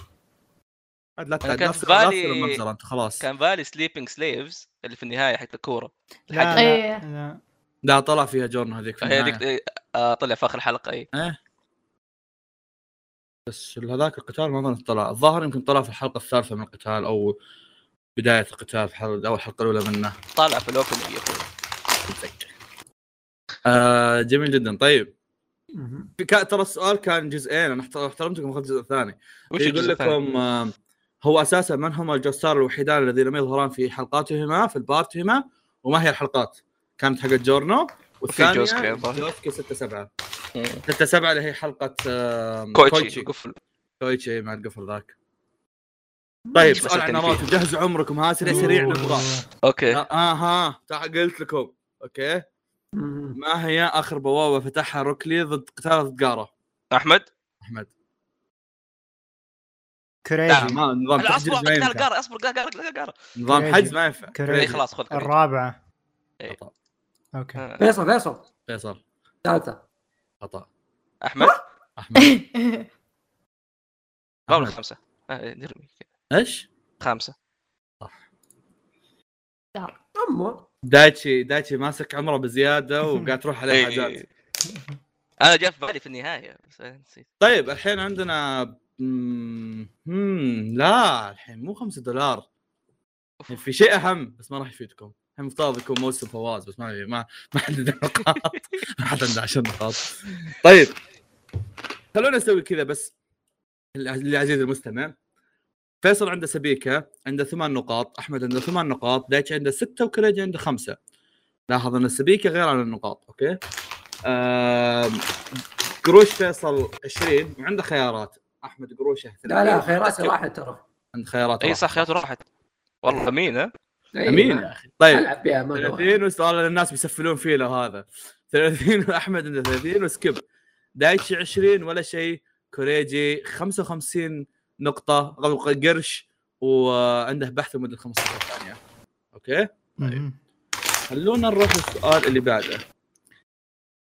Speaker 1: عاد لا تعد
Speaker 3: كان
Speaker 1: لا
Speaker 3: في
Speaker 1: تصير- لا
Speaker 3: بالي-
Speaker 1: تصير المبزرة انت خلاص
Speaker 3: كان بالي سليبنج سليفز اللي في النهايه حق الكوره
Speaker 2: لا،
Speaker 3: الحاجة-
Speaker 2: لا،
Speaker 4: إيه.
Speaker 2: لا.
Speaker 1: لا طلع فيها جورن هذيك في
Speaker 3: هي
Speaker 1: النهاية.
Speaker 3: ديك إيه، آه، طلع في اخر حلقه اي
Speaker 1: بس هذاك القتال ما اظن طلع الظاهر يمكن طلع في الحلقه الثالثه من القتال او بدايه القتال في الحلقه او الحلقه الاولى منه
Speaker 3: طالع في الاوبننج يا اخوي
Speaker 1: أتذكر. آه جميل جدا طيب
Speaker 5: مهم.
Speaker 1: في كا- ترى السؤال كان جزئين انا احت- احترمتكم اخذت الجزء الثاني
Speaker 3: وش
Speaker 1: يقول
Speaker 3: الجزء الثاني؟
Speaker 1: لكم آه هو اساسا من هما الجوستار الوحيدان الذين لم يظهران في حلقاتهما في البارتهما وما هي الحلقات؟ كانت حقت جورنو والثانيه
Speaker 3: جوسكي الظاهر.
Speaker 1: جوسكي 6 7
Speaker 3: مم.
Speaker 1: 6 7 اللي هي حلقه آه
Speaker 3: كوتشي قفل
Speaker 1: كويتشي إيه، مع القفل ذاك طيب
Speaker 3: إيش
Speaker 1: سؤال عن
Speaker 3: مسكتني فيه؟
Speaker 1: ناروتو جهزوا عمركم ها سريع سريع نبغى
Speaker 3: اوكي
Speaker 1: ها- ها ها تع- قلت لكم اوكي
Speaker 5: مهم.
Speaker 1: ما هي اخر بوابه فتحها روكلي ضد قتال ضد جارة
Speaker 3: احمد
Speaker 1: احمد
Speaker 3: نعم.
Speaker 2: كوريجي
Speaker 1: ما نظام
Speaker 3: لا
Speaker 1: تحجز
Speaker 3: اصبر
Speaker 1: ما
Speaker 3: قال
Speaker 1: ينفع
Speaker 3: قاره اصبر قال قاره قاره
Speaker 1: نظام
Speaker 2: كريجي.
Speaker 1: حجز ما ينفع
Speaker 2: كريجي.
Speaker 3: اي
Speaker 1: كريجي.
Speaker 3: إيه، خلاص خذ خذ.
Speaker 2: الرابعه
Speaker 3: إيه.
Speaker 1: خطا
Speaker 2: اوكي
Speaker 3: آه.
Speaker 5: فيصل فيصل
Speaker 1: فيصل
Speaker 5: ثالثة
Speaker 1: خطا
Speaker 3: احمد
Speaker 1: احمد
Speaker 3: قبل
Speaker 1: أحمد.
Speaker 3: خمسه آه، نرمي كذا.
Speaker 1: ايش؟
Speaker 3: خمسه
Speaker 5: امه
Speaker 1: دايتشي دايتشي ماسك عمره بزياده وقاعد تروح عليه
Speaker 3: إي.
Speaker 1: حاجات
Speaker 3: انا جاء إيه. في بالي في النهايه بس أنا نسيت
Speaker 1: طيب الحين عندنا مم... مم... لا الحين مو 5 دولار الحين في شيء اهم بس ما راح يفيدكم الحين المفترض يكون موسم فواز بس ما ما ما عندنا نقاط ما حد عنده 10 نقاط طيب خلونا نسوي كذا بس للعزيز المستمع فيصل عنده سبيكه عنده ثمان نقاط احمد عنده ثمان نقاط دايتش عنده سته وكريج عنده خمسه لاحظ ان السبيكه غير عن النقاط اوكي آم... قروش فيصل 20 وعنده خيارات احمد قروشه
Speaker 5: لا لا
Speaker 1: 30.
Speaker 5: خياراتي راحت ترى
Speaker 1: عنده خيارات
Speaker 3: اي
Speaker 1: واحدة.
Speaker 3: إيه، صح خياراته راحت والله مين ها
Speaker 5: إي،
Speaker 1: امين يا
Speaker 5: ما-
Speaker 1: اخي طيب
Speaker 5: العب بها إيه. ما
Speaker 1: 30 وسؤال الناس بيسفلون فيه لو هذا 30 واحمد عنده 30 وسكيب دايتشي 20 ولا شيء كوريجي 55 نقطة غلق قرش وعنده بحث لمدة 15 ثانية اوكي
Speaker 2: مم.
Speaker 1: خلونا نروح للسؤال اللي بعده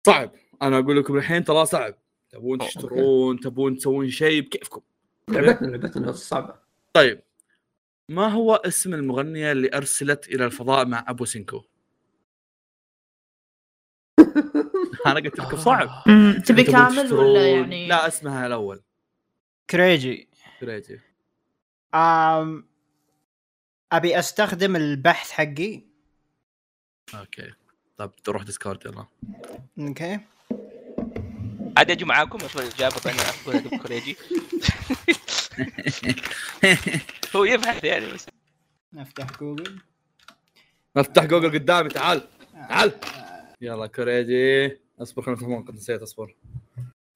Speaker 1: صعب انا اقول لكم الحين ترى صعب تبون
Speaker 3: أوكي.
Speaker 1: تشترون تبون تسوون شيء بكيفكم
Speaker 5: لعبتنا لعبتنا صعبة
Speaker 1: طيب ما هو اسم المغنية اللي أرسلت إلى الفضاء مع أبو سينكو؟ أنا قلت لكم صعب
Speaker 4: مم، تبي
Speaker 1: أنتم
Speaker 4: كامل
Speaker 1: آه. تشترون-
Speaker 4: ولا يعني
Speaker 1: لا اسمها الأول
Speaker 2: كوريجي
Speaker 1: كريجي
Speaker 2: آم، ابي استخدم البحث حقي
Speaker 1: أوكي طب تروح ديسكورد يلا
Speaker 2: اوكي
Speaker 3: عاد اجي معاكم اشوف الاجابه بعدين اقول أدب كوريجي هو يبحث يعني بس
Speaker 2: نفتح جوجل
Speaker 1: افتح جوجل قدامي تعال
Speaker 4: آه.
Speaker 1: تعال يلا كريجي اصبر خلينا نفهم قد نسيت اصبر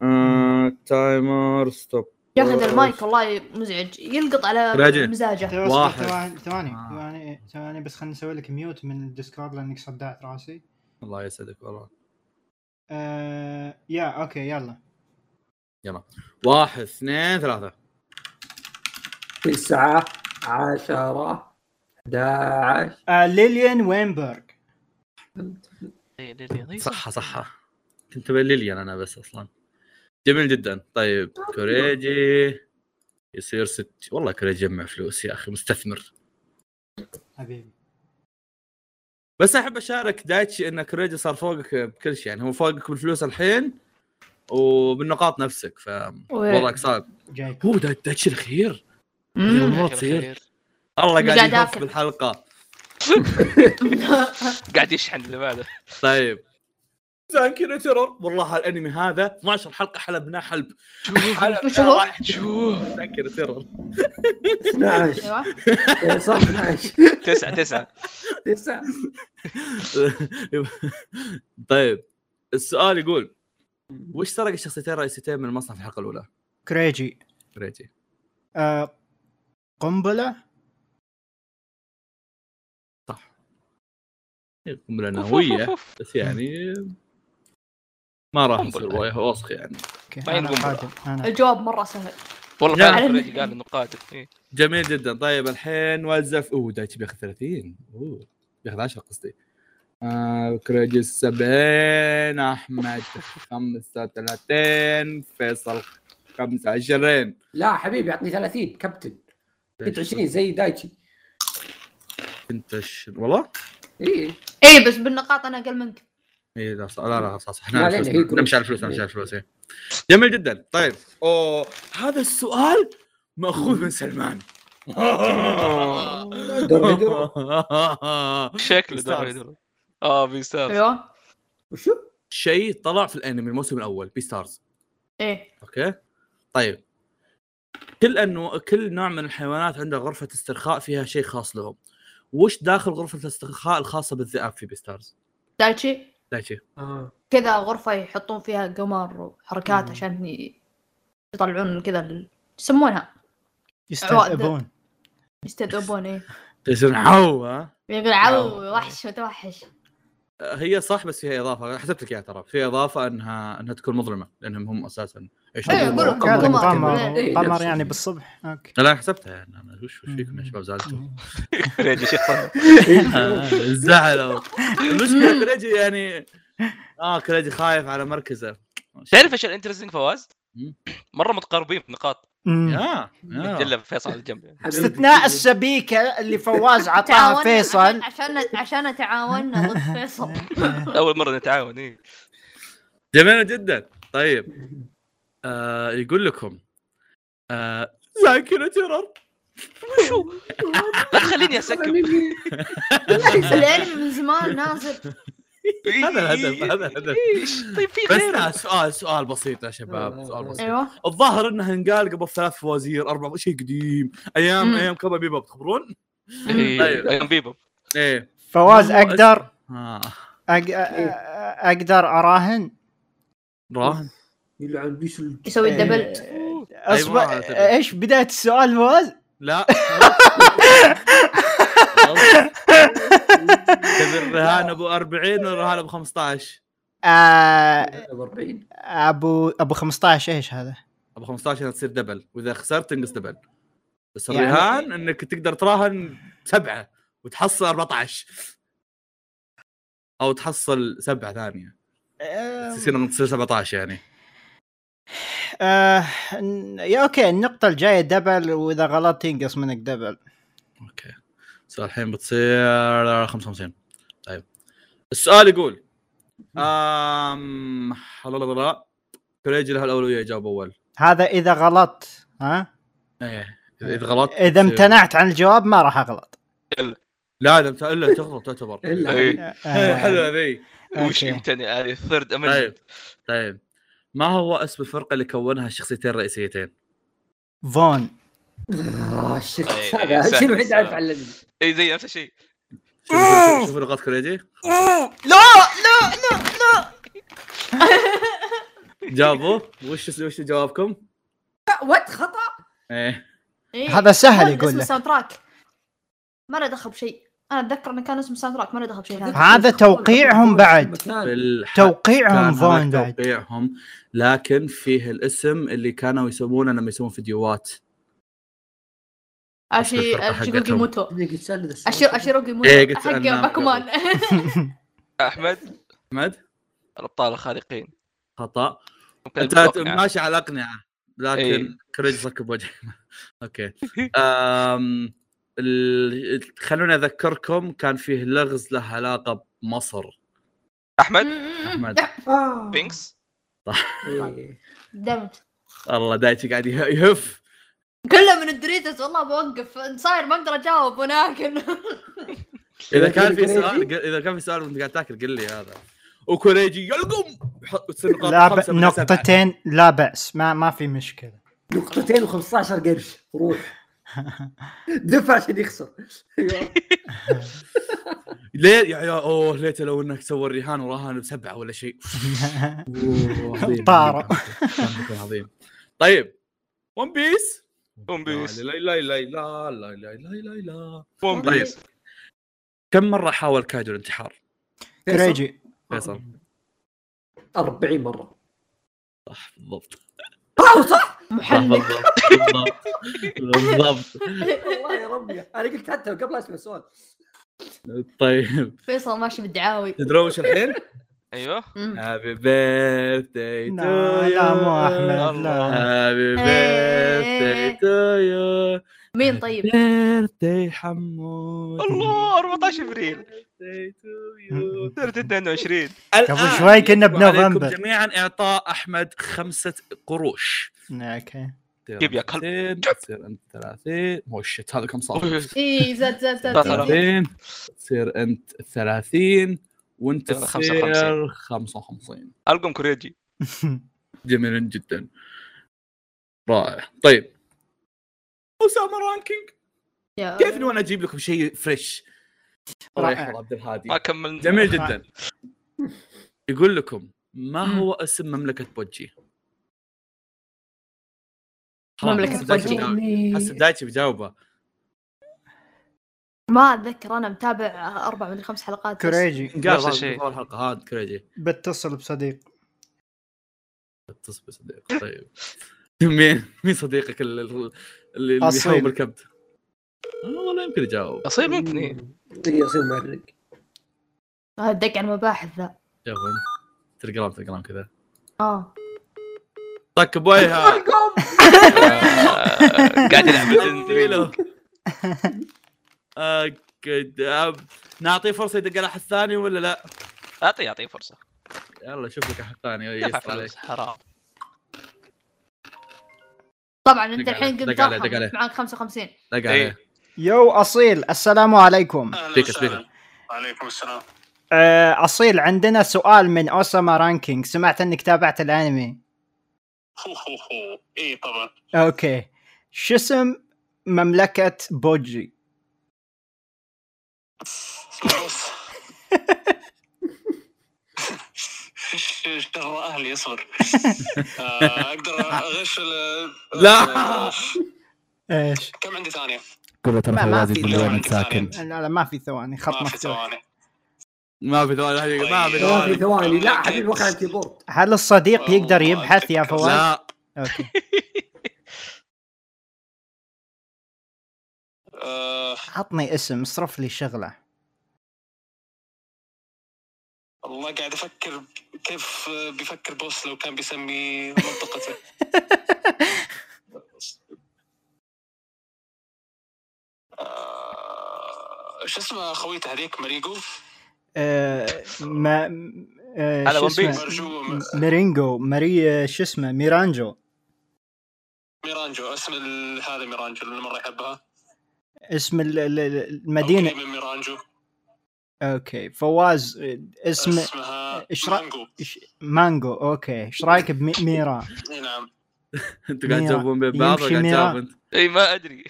Speaker 1: آه، تايمر ستوب
Speaker 4: ياخذ المايك والله مزعج يلقط على
Speaker 1: راجل.
Speaker 4: مزاجه
Speaker 2: اصبر،
Speaker 1: واحد.
Speaker 2: ثواني ثواني
Speaker 1: آه.
Speaker 2: ثواني إيه، ثواني بس خليني اسوي لك ميوت من الديسكورد لانك صدعت راسي
Speaker 1: الله يسعدك والله
Speaker 2: آه، يا اوكي يلا
Speaker 1: واحد اثنين ثلاثة
Speaker 5: تسعة عشرة 11
Speaker 2: آه، ليليان وينبرغ
Speaker 3: إي، ليلي، ليلي.
Speaker 1: صحة صحة كنت بليليان أنا بس أصلا جميل جدا طيب كوريجي يصير ست والله كوريجي يجمع فلوس يا اخي مستثمر
Speaker 2: حبيبي
Speaker 1: بس احب اشارك دايتشي ان كوريجي صار فوقك بكل شيء يعني هو فوقك بالفلوس الحين وبالنقاط نفسك ف
Speaker 4: طيب.
Speaker 1: وضعك صعب
Speaker 2: جاي
Speaker 1: هو دا- دايتشي الاخير
Speaker 2: مم.
Speaker 1: الامور تصير الله
Speaker 4: قاعد
Speaker 1: قاعد يفوز
Speaker 4: آكل.
Speaker 1: بالحلقه
Speaker 3: قاعد يشحن اللي بعده
Speaker 1: طيب زانكينا تيرر والله الانمي هذا 12 حلقه حلبناه حلب حلب
Speaker 4: شوف.
Speaker 3: شوف
Speaker 1: زانكينا تيرر
Speaker 5: 12
Speaker 4: ايوه
Speaker 5: إيه صح 12
Speaker 3: تسعة تسعة
Speaker 5: 9
Speaker 1: طيب السؤال يقول وش سرق الشخصيتين الرئيسيتين من المصنع في الحلقه الاولى؟
Speaker 2: كريجي
Speaker 1: ريتي
Speaker 2: آه، قنبله
Speaker 1: قنبله نوويه بس يعني ما راح نصير وجه وسخ يعني
Speaker 2: اوكي
Speaker 3: ما
Speaker 2: انا
Speaker 3: ينقم.
Speaker 2: قادم انا
Speaker 4: الجواب مره سهل
Speaker 3: والله
Speaker 1: لا.
Speaker 3: فعلا فريدي قال انه قادم إيه.
Speaker 1: جميل جدا طيب الحين وزف اوه دايتشي بياخذ 30 اوه بياخذ 10 قصدي آه كريجي 70 احمد 35 فيصل 25
Speaker 5: لا حبيبي اعطني 30 كابتن كنت 20 زي دايتشي
Speaker 1: كنت عش- والله؟
Speaker 5: اي
Speaker 4: اي إيه، بس بالنقاط انا اقل منك
Speaker 1: اي إيه، لا صح لا لا صح صح احنا
Speaker 5: لا، لا،
Speaker 1: على
Speaker 5: هي
Speaker 1: الفلوس
Speaker 5: جروب.
Speaker 1: نمشي على الفلوس نمشي على الفلوس إيه. جميل جدا طيب اوه هذا السؤال ماخوذ من سلمان
Speaker 5: دربي دربي
Speaker 3: شكله
Speaker 1: بيستانس.
Speaker 3: ده اه بيستانس
Speaker 4: ايوه
Speaker 5: وشو؟
Speaker 1: شيء طلع في الانمي الموسم الاول بي ستارز
Speaker 4: ايه
Speaker 1: اوكي طيب كل انه كل نوع من الحيوانات عنده غرفه استرخاء فيها شيء خاص لهم وش داخل غرفه الاسترخاء الخاصه بالذئاب في بي ستارز
Speaker 4: دايتشي
Speaker 1: دايتشي
Speaker 5: آه.
Speaker 4: كذا غرفه يحطون فيها قمر وحركات عشان ي- يطلعون كذا ال- يسمونها
Speaker 2: يستهبون
Speaker 4: يستذوبون ايه
Speaker 1: يصير عو ها
Speaker 4: يقول عو وحش متوحش
Speaker 1: هي صح بس فيها اضافه حسبت لك اياها يعني ترى فيها اضافه انها انها تكون مظلمه لانهم هم اساسا يعيشون
Speaker 4: إيه،
Speaker 1: بالظلمة.
Speaker 4: يقولوا
Speaker 2: قال لك
Speaker 4: قمر.
Speaker 5: إيه،
Speaker 2: قمر
Speaker 5: نفس
Speaker 2: قمر
Speaker 5: الشيء.
Speaker 2: يعني بالصبح اوكي
Speaker 1: لا حسبتها يعني انا وش وش فيكم يا شباب زعلتوا آه،
Speaker 3: فريدي شيخ
Speaker 5: إيه.
Speaker 1: زعلوا المشكله كريجي يعني اه كريجي خايف على مركزه
Speaker 3: تعرف ايش الانترستنج فواز؟
Speaker 1: مم.
Speaker 3: مره متقاربين في نقاط
Speaker 2: مم.
Speaker 1: اه
Speaker 3: متجلى فيصل على الجنب
Speaker 5: حبيبي.
Speaker 2: استثناء السبيكه اللي فواز عطاها
Speaker 4: تعاوننا
Speaker 2: فيصل
Speaker 4: عشان عشان تعاوننا ضد فيصل
Speaker 3: اول مره نتعاون ايه
Speaker 1: جميل جدا طيب آه يقول لكم آه ذاكرة تيرر
Speaker 3: شو لا تخليني اسكب
Speaker 4: الانمي من زمان نازل
Speaker 1: هذا الهدف، هذا الهدف.
Speaker 3: إيش؟ طيب في
Speaker 1: بس آه.
Speaker 3: غيره
Speaker 1: لا، سؤال سؤال بسيط يا شباب سؤال بسيط
Speaker 4: ايوه
Speaker 1: الظاهر انه انقال قبل ثلاث فوازير اربع شيء قديم ايام
Speaker 4: مم.
Speaker 1: ايام كبا بيبا تخبرون؟ طيب.
Speaker 3: إيه، ايام بيبو
Speaker 1: ايه
Speaker 2: فواز
Speaker 1: ما هو
Speaker 2: اقدر
Speaker 1: آه.
Speaker 2: أق... اقدر اراهن
Speaker 1: راهن
Speaker 5: يلعن بيش ال-
Speaker 4: يسوي
Speaker 2: إيه.
Speaker 4: الدبل
Speaker 2: اصبر
Speaker 1: أيوة، أعتقد.
Speaker 2: ايش بدايه السؤال فواز؟
Speaker 1: لا تبي الرهان ابو 40 ولا الرهان ابو 15
Speaker 2: آه،
Speaker 5: 40
Speaker 2: ابو ابو 15 ايش هذا؟
Speaker 1: ابو 15 تصير دبل واذا خسرت تنقص دبل بس
Speaker 2: يعني-
Speaker 1: الرهان انك تقدر تراهن سبعه وتحصل 14 او تحصل سبعه ثانيه
Speaker 2: آه،
Speaker 1: تصير انك تصير 17 يعني
Speaker 2: آه، ن- يا اوكي النقطة الجاية دبل واذا غلطت ينقص منك دبل
Speaker 1: اوكي سؤال الحين بتصير 55 طيب السؤال يقول امم حلالالالال. كريجي له الاولويه يجاوب اول
Speaker 2: هذا اذا غلطت ها؟
Speaker 1: ايه اذا إذا غلطت
Speaker 2: اذا
Speaker 1: تصير-
Speaker 2: امتنعت عن الجواب ما راح اغلط
Speaker 1: لا اذا امت- الا تغلط تعتبر
Speaker 5: الا
Speaker 2: آه،
Speaker 1: إيه، حلوه ذي
Speaker 3: وش آه،
Speaker 2: اوكي
Speaker 3: يمتنع ثيرد
Speaker 1: طيب
Speaker 3: امندمنت
Speaker 1: طيب ما هو اسم الفرقه اللي كونها الشخصيتين الرئيسيتين؟
Speaker 2: فون
Speaker 5: آه، الشيخ
Speaker 3: إيه،
Speaker 5: هذا
Speaker 3: سهل
Speaker 5: شنو عندي
Speaker 3: السؤال.
Speaker 5: اعرف عن الذي
Speaker 3: اي زي نفس الشيء
Speaker 1: شوف شوف لغات كوريجي
Speaker 2: لا
Speaker 1: جابوا وش وش جوابكم؟
Speaker 5: وات خطا
Speaker 1: ايه
Speaker 4: إيه.
Speaker 2: هذا سهل
Speaker 4: كان
Speaker 2: يقول
Speaker 4: اسم
Speaker 2: لك
Speaker 4: ساوند تراك ما له دخل بشيء انا اتذكر انه كان اسم ساوند تراك ما له دخل بشيء هذا
Speaker 2: هذا توقيعهم بعد
Speaker 1: بالحق
Speaker 2: توقيعهم
Speaker 1: كان
Speaker 2: فون
Speaker 1: هناك
Speaker 2: بعد
Speaker 1: توقيعهم لكن فيه الاسم اللي كانوا يسمونه لما يسوون فيديوهات
Speaker 4: اشي
Speaker 1: الفرقة
Speaker 4: اشيروغي
Speaker 1: حقتهم.
Speaker 4: موتو أشير
Speaker 5: اشير
Speaker 4: اشيروغي
Speaker 1: إيه،
Speaker 4: موتو
Speaker 1: قلت
Speaker 4: حق
Speaker 1: أنا
Speaker 4: باكومان
Speaker 3: احمد
Speaker 1: احمد
Speaker 3: الابطال الخارقين
Speaker 1: خطا
Speaker 3: ممكن
Speaker 1: انت
Speaker 3: البلوك نعم.
Speaker 1: ماشي على اقنعه لكن
Speaker 3: إيه.
Speaker 1: كريج ركب وجهي اوكي أم... ال... خلوني اذكركم كان فيه لغز له علاقه بمصر
Speaker 3: احمد
Speaker 1: أحمد.
Speaker 3: بينكس
Speaker 5: إيه.
Speaker 4: دمج
Speaker 1: الله دايتي قاعد يه- يهف
Speaker 4: كله من الدريتس والله بوقف صاير ما اقدر اجاوب وناكل
Speaker 1: اذا كان في
Speaker 5: كوريجي؟
Speaker 1: سؤال قل- اذا كان في سؤال وانت قاعد تاكل قل لي هذا وكوريجي يلقم يحط- وتصير نقاط
Speaker 2: لا ب...
Speaker 1: خمسة من سبعة.
Speaker 2: نقطتين لا باس ما ما في مشكله
Speaker 5: نقطتين و15 قرش روح دفع عشان يخسر
Speaker 1: ليه يا يا اوه ليت لو انك سوى الرهان وراهن بسبعه ولا شيء أوه، عظيم،
Speaker 2: طاروا.
Speaker 1: عظيم، عظيم، عظيم طيب ون بيس
Speaker 3: ون بيس.
Speaker 1: لا لا لا لا لا لا لا لا لا
Speaker 3: ون
Speaker 1: طيب.
Speaker 3: بيس
Speaker 1: كم مره حاول كايدو الانتحار
Speaker 2: كريجي
Speaker 1: فيصل
Speaker 5: 40 مره
Speaker 1: صح بالضبط صح
Speaker 4: محلق
Speaker 1: بالضبط بالضبط بالضبط
Speaker 5: والله يا ربي انا قلت حتى قبل اسمع السؤال
Speaker 1: طيب
Speaker 4: فيصل ماشي بالدعاوي
Speaker 1: تدرون وش الحين؟
Speaker 3: ايوه
Speaker 4: مم.
Speaker 1: هابي بيرثداي تو
Speaker 2: لا لا مو احمد لا
Speaker 1: هابي بيرثداي
Speaker 4: إيه.
Speaker 1: تو يو
Speaker 4: مين طيب؟
Speaker 1: بيرثداي حمود
Speaker 3: الله 14 ابريل
Speaker 1: Birthday to you.
Speaker 3: صرت 22
Speaker 1: الآن
Speaker 2: قبل شوي كنا
Speaker 1: آه، يجب عليكم
Speaker 2: بنوفمبر
Speaker 1: جميعا اعطاء احمد خمسة قروش طيب،
Speaker 2: اوكي
Speaker 3: جيب يا كلب.
Speaker 1: تصير انت 30 مو شت هذا كم صار؟
Speaker 4: اي زاد زاد زاد
Speaker 3: بطل.
Speaker 4: زاد.
Speaker 1: 30 تصير انت 30 وانت
Speaker 3: يلا 55.
Speaker 1: تصير 55
Speaker 3: القم كوريجي
Speaker 1: جميل جدا رائع طيب اسامه رانكينج
Speaker 4: يا-
Speaker 1: كيف انه انا اجيب لكم شيء فريش الله
Speaker 2: رائع.
Speaker 1: يحفظ آه. عبد الهادي
Speaker 3: ما كملنا
Speaker 1: جميل جدا يقول لكم ما هو اسم مملكه بوجي؟
Speaker 4: مملكة
Speaker 1: حس بدايتي
Speaker 4: بوجي. إيه.
Speaker 1: بجاوب- حس بدايتي بجاوبه
Speaker 4: ما اتذكر انا متابع اربع من خمس حلقات بس.
Speaker 2: كريجي
Speaker 1: قال
Speaker 3: نفس
Speaker 1: هذا
Speaker 3: الشيء.
Speaker 1: في اول حلقه هذا كريجي
Speaker 2: بتصل بصديق
Speaker 1: تصبر صديق طيب مين مين صديقك ال- ال- اللي اللي
Speaker 2: أصيل.
Speaker 1: يحاول بالكبد؟ آه، والله يمكن يجاوب
Speaker 3: اصير ممكن إيه.
Speaker 5: إيه، يصير معرق
Speaker 4: هذا دق على المباحث ذا
Speaker 1: جاوب انت تلقرام تلقرام كذا
Speaker 4: اه
Speaker 1: طك بويها
Speaker 3: آه، قاعد يلعب بالإنجليزي.
Speaker 1: أكد. أب- نعطيه فرصه يدق على احد ثاني ولا لا؟
Speaker 3: اعطيه اعطيه فرصه
Speaker 1: يلا شوف لك احد ثاني
Speaker 3: دفع
Speaker 1: يسأل عليك.
Speaker 3: فلوس حرام
Speaker 4: طبعا انت
Speaker 1: دق عليه،
Speaker 4: الحين قمت
Speaker 1: دق عليه، دق
Speaker 4: أرحم،
Speaker 1: عليه.
Speaker 4: معك 55
Speaker 1: دق
Speaker 3: إيه.
Speaker 1: عليه
Speaker 2: يو اصيل السلام عليكم
Speaker 1: سبيكر سبيكر
Speaker 6: عليكم السلام
Speaker 2: آه، اصيل عندنا سؤال من اوساما رانكينج سمعت انك تابعت الانمي
Speaker 6: هو هو هو إيه، اي طبعا
Speaker 2: اوكي شو اسم مملكة بوجي
Speaker 6: شر اهلي اصبر آه، اقدر اغش ال-
Speaker 1: لا.
Speaker 2: ايش؟
Speaker 6: كم عندي ثانيه؟
Speaker 1: كله ترى
Speaker 2: ما- ما في
Speaker 6: اللي وين أنت ساكن.
Speaker 2: لا لا ما في ثواني خط
Speaker 6: ما في
Speaker 2: مفتوح
Speaker 6: ثواني
Speaker 1: ما في ثواني حقيقة، ما في
Speaker 6: طيب.
Speaker 5: ما في
Speaker 1: ثواني
Speaker 5: ثواني لا
Speaker 3: آه.
Speaker 5: حبيبي وقع على الكيبورد
Speaker 2: هل الصديق
Speaker 6: والله
Speaker 2: يقدر يبحث يا
Speaker 6: أتذكر.
Speaker 2: فواز؟
Speaker 1: لا
Speaker 2: اوكي
Speaker 6: آه،
Speaker 2: عطني اسم اصرف لي شغلة
Speaker 6: والله قاعد افكر ب- كيف بيفكر بوس لو كان بيسمي منطقته آه، شو اسمه خويته هذيك ماريجو
Speaker 2: آه، ما آه،
Speaker 3: على
Speaker 2: شو
Speaker 3: One
Speaker 2: اسمه؟
Speaker 3: Piece.
Speaker 6: مرجو
Speaker 2: ميرينجو ماري شو اسمه ميرانجو
Speaker 6: ميرانجو اسم ال- هذا ميرانجو اللي مرة يحبها
Speaker 2: اسم ال- ال- ال-
Speaker 6: أو
Speaker 2: المدينة
Speaker 6: كريم من ميرانجو
Speaker 2: اوكي فواز آه، اسم
Speaker 6: اسمها
Speaker 2: إيش رأ-
Speaker 6: مانجو
Speaker 2: إيش- مانجو اوكي ايش رايك بميرا
Speaker 6: إي نعم
Speaker 1: انتوا قاعد
Speaker 2: ميرا.
Speaker 1: تجاوبون بين بعض ولا
Speaker 2: يمشي
Speaker 1: قاعد
Speaker 2: ميرا.
Speaker 1: تجاوب انت؟
Speaker 3: اي ما ادري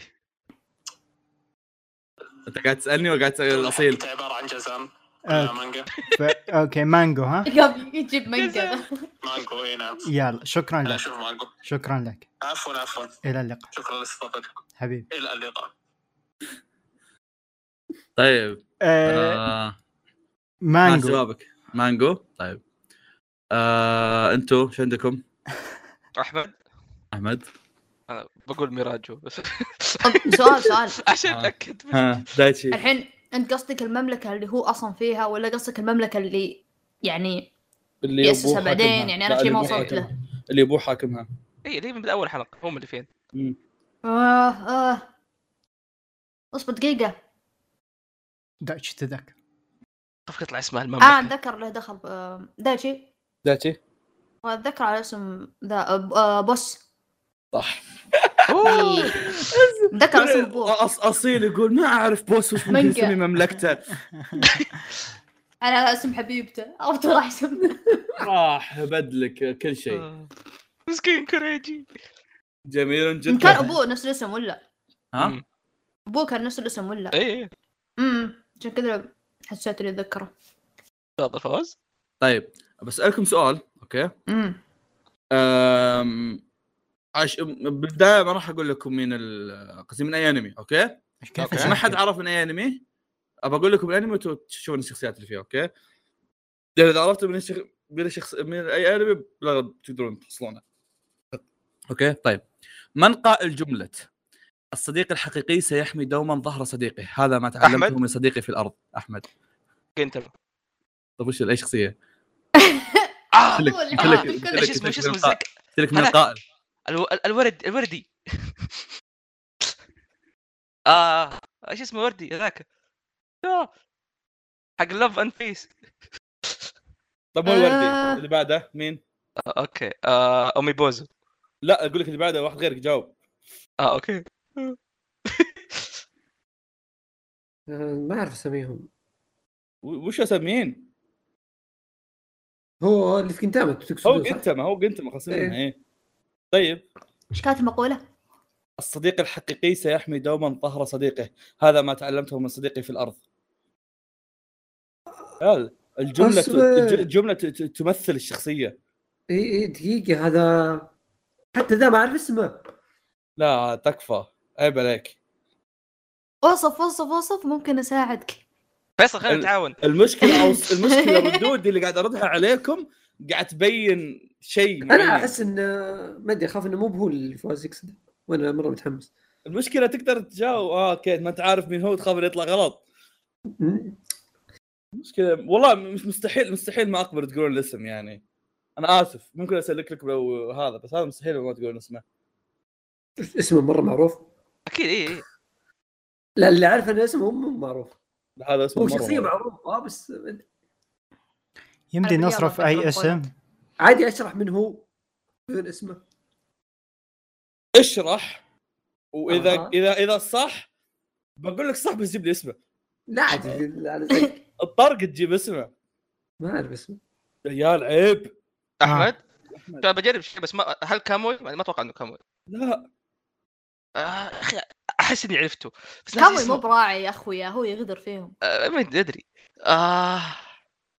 Speaker 1: انت قاعد تسالني ولا قاعد تسال الاصيل؟
Speaker 6: حتى عبارة عن جزام
Speaker 2: آه.
Speaker 6: آه. مانجا
Speaker 2: ف... اوكي مانجو ها
Speaker 4: قبل يجيب مانجا
Speaker 6: مانجو اي نعم
Speaker 2: يلا شكرا
Speaker 6: لا
Speaker 2: لك
Speaker 6: شوف مانجو
Speaker 2: شكرا لك
Speaker 6: عفوا عفوا
Speaker 2: الى اللقاء
Speaker 6: شكرا لاستضافتكم
Speaker 2: حبيبي
Speaker 6: الى اللقاء
Speaker 1: طيب
Speaker 2: آه...
Speaker 1: آه، ما
Speaker 2: مانجو
Speaker 1: جوابك مانجو طيب آه، انتوا شو عندكم؟
Speaker 3: احمد
Speaker 1: احمد
Speaker 3: انا بقول ميراجو بس
Speaker 4: طب سؤال سؤال
Speaker 3: عشان
Speaker 1: آه.
Speaker 3: اتاكد بس.
Speaker 1: ها دايتشي
Speaker 4: الحين انت قصدك المملكه اللي هو اصلا فيها ولا قصدك المملكه اللي يعني
Speaker 1: اللي
Speaker 4: ياسسها بعدين يعني انا شيء ما وصلت له
Speaker 1: اللي ابوه حاكمها
Speaker 3: اي ليه من اول حلقه هم اللي فين
Speaker 4: آه آه اصبر دقيقة آه،
Speaker 2: دايتشي تذكر
Speaker 3: كيف يطلع اسمها
Speaker 4: اه
Speaker 3: المملكه
Speaker 4: اتذكر له دخل ب- آه، دايتشي
Speaker 1: داتشي
Speaker 4: واتذكر على اسم ذا آه، ب- آه، بوس
Speaker 1: صح
Speaker 3: أوه.
Speaker 4: اتذكر اسم بوس
Speaker 1: إيه، أص- اصيل يقول ما اعرف بوس وش ممكن
Speaker 4: منقع.
Speaker 1: يسمي مملكته
Speaker 4: على اسم حبيبته عرفت راح اسم
Speaker 1: راح بدلك كل شيء
Speaker 3: آه. مسكين كوريجي
Speaker 1: جميل
Speaker 4: كان
Speaker 1: جدا
Speaker 4: ابوه نفس الاسم ولا
Speaker 1: ها
Speaker 3: مم.
Speaker 4: ابوه كان نفس الاسم ولا
Speaker 3: اي
Speaker 4: امم عشان كذا حسيت اني اتذكره
Speaker 3: تفضل فوز
Speaker 1: طيب بسالكم سؤال اوكي
Speaker 4: امم
Speaker 1: أم... عش... بالبدايه ما راح اقول لكم مين ال- قصدي من اي انمي اوكي
Speaker 2: ايش كيف
Speaker 1: ما حد عرف من اي انمي ابى اقول لكم الانمي وتشوفون الشخصيات اللي فيه اوكي؟ لان اذا عرفتوا من الشخ... من الشخص من اي انمي لا بتقدرون تحصلونه. اوكي طيب من قائل جملة الصديق الحقيقي سيحمي دوما ظهر صديقه هذا ما تعلمته
Speaker 3: أحمد؟
Speaker 1: من صديقي في الارض احمد
Speaker 3: جنتر
Speaker 1: طيب وش اي شخصية؟
Speaker 3: آه.
Speaker 1: قلت لك-
Speaker 4: هو اللي
Speaker 1: قلت لك-
Speaker 4: قائل
Speaker 1: قلت
Speaker 4: بالكل.
Speaker 1: لك-
Speaker 3: ايش اسمه ايش
Speaker 1: قلت لك
Speaker 3: اسمه
Speaker 1: من القائل-
Speaker 3: الزك
Speaker 1: قلت لك من
Speaker 3: هذاك.
Speaker 1: القائل
Speaker 3: الو- الورد الوردي اه ايش اسمه وردي هذاك آه. حق لف اند بيس
Speaker 1: طب مو الوردي
Speaker 4: آه.
Speaker 1: اللي بعده مين؟
Speaker 3: اوكي آه. امي بوزو
Speaker 1: لا اقول لك اللي بعده واحد غيرك جاوب
Speaker 3: اه اوكي
Speaker 5: آه، ما اعرف اسميهم
Speaker 1: و- وش اسميين؟
Speaker 5: هو اللي في كنتاما
Speaker 1: هو
Speaker 5: تقصدون صح؟
Speaker 1: قنتما هو قنتما خلصنا
Speaker 5: إيه.
Speaker 1: منها ايه طيب
Speaker 4: ايش كانت المقولة؟
Speaker 1: الصديق الحقيقي سيحمي دوما ظهر صديقه هذا ما تعلمته من صديقي في الارض هذا الجمله
Speaker 5: أصبر.
Speaker 1: الج- الجمله ت- ت- تمثل الشخصيه
Speaker 5: اي اي دقيقه هذا حتى ذا ما اعرف اسمه
Speaker 1: لا تكفى عيب عليك
Speaker 4: وصف وصف وصف ممكن اساعدك
Speaker 3: فيصل خلينا
Speaker 1: ال-
Speaker 3: نتعاون
Speaker 1: المشكله أو س- المشكله ردودي اللي قاعد اردها عليكم قاعد تبين شيء
Speaker 5: انا
Speaker 1: معين
Speaker 5: احس انه ما ادري اخاف انه مو بهو اللي فواز يقصده وانا مره متحمس
Speaker 1: المشكله تقدر تجاوب اه اوكي ما انت عارف مين هو تخاف انه يطلع غلط
Speaker 5: م-
Speaker 1: مشكله والله مش مستحيل مستحيل ما اقبل تقولون الاسم يعني انا اسف ممكن اسلك لكم لو هذا بس هذا مستحيل ما تقولون اسمه
Speaker 5: اسمه مره معروف
Speaker 3: اكيد اي إي.
Speaker 5: لا اللي اعرف انه اسمه مو معروف
Speaker 1: هذا اسمه
Speaker 5: هو
Speaker 1: مرة
Speaker 5: شخصيه
Speaker 1: مرة.
Speaker 5: معروفه آه، بس
Speaker 2: يمدي
Speaker 4: أنا
Speaker 2: نصرف
Speaker 4: بالرياضة
Speaker 2: اي
Speaker 4: بكره
Speaker 2: اسم
Speaker 5: عادي اشرح من هو بدون اسمه
Speaker 1: اشرح واذا
Speaker 5: أها.
Speaker 1: اذا اذا صح بقول لك صح بس جيب لي اسمه
Speaker 5: لا عادي لا، أنا زي-
Speaker 1: طيب. الطرق تجيب اسمه
Speaker 5: ما اعرف اسمه
Speaker 1: يا عيال عيب
Speaker 3: احمد ترى طيب، بجرب شيء بس ما هل كاموي؟ ما ما اتوقع انه كاموي
Speaker 1: لا
Speaker 3: آه، اخي احس اني عرفته بس ناسي
Speaker 4: كاموي
Speaker 3: اسمه.
Speaker 4: مو براعي يا اخويا هو يغدر فيهم
Speaker 3: آه، ما ادري آه.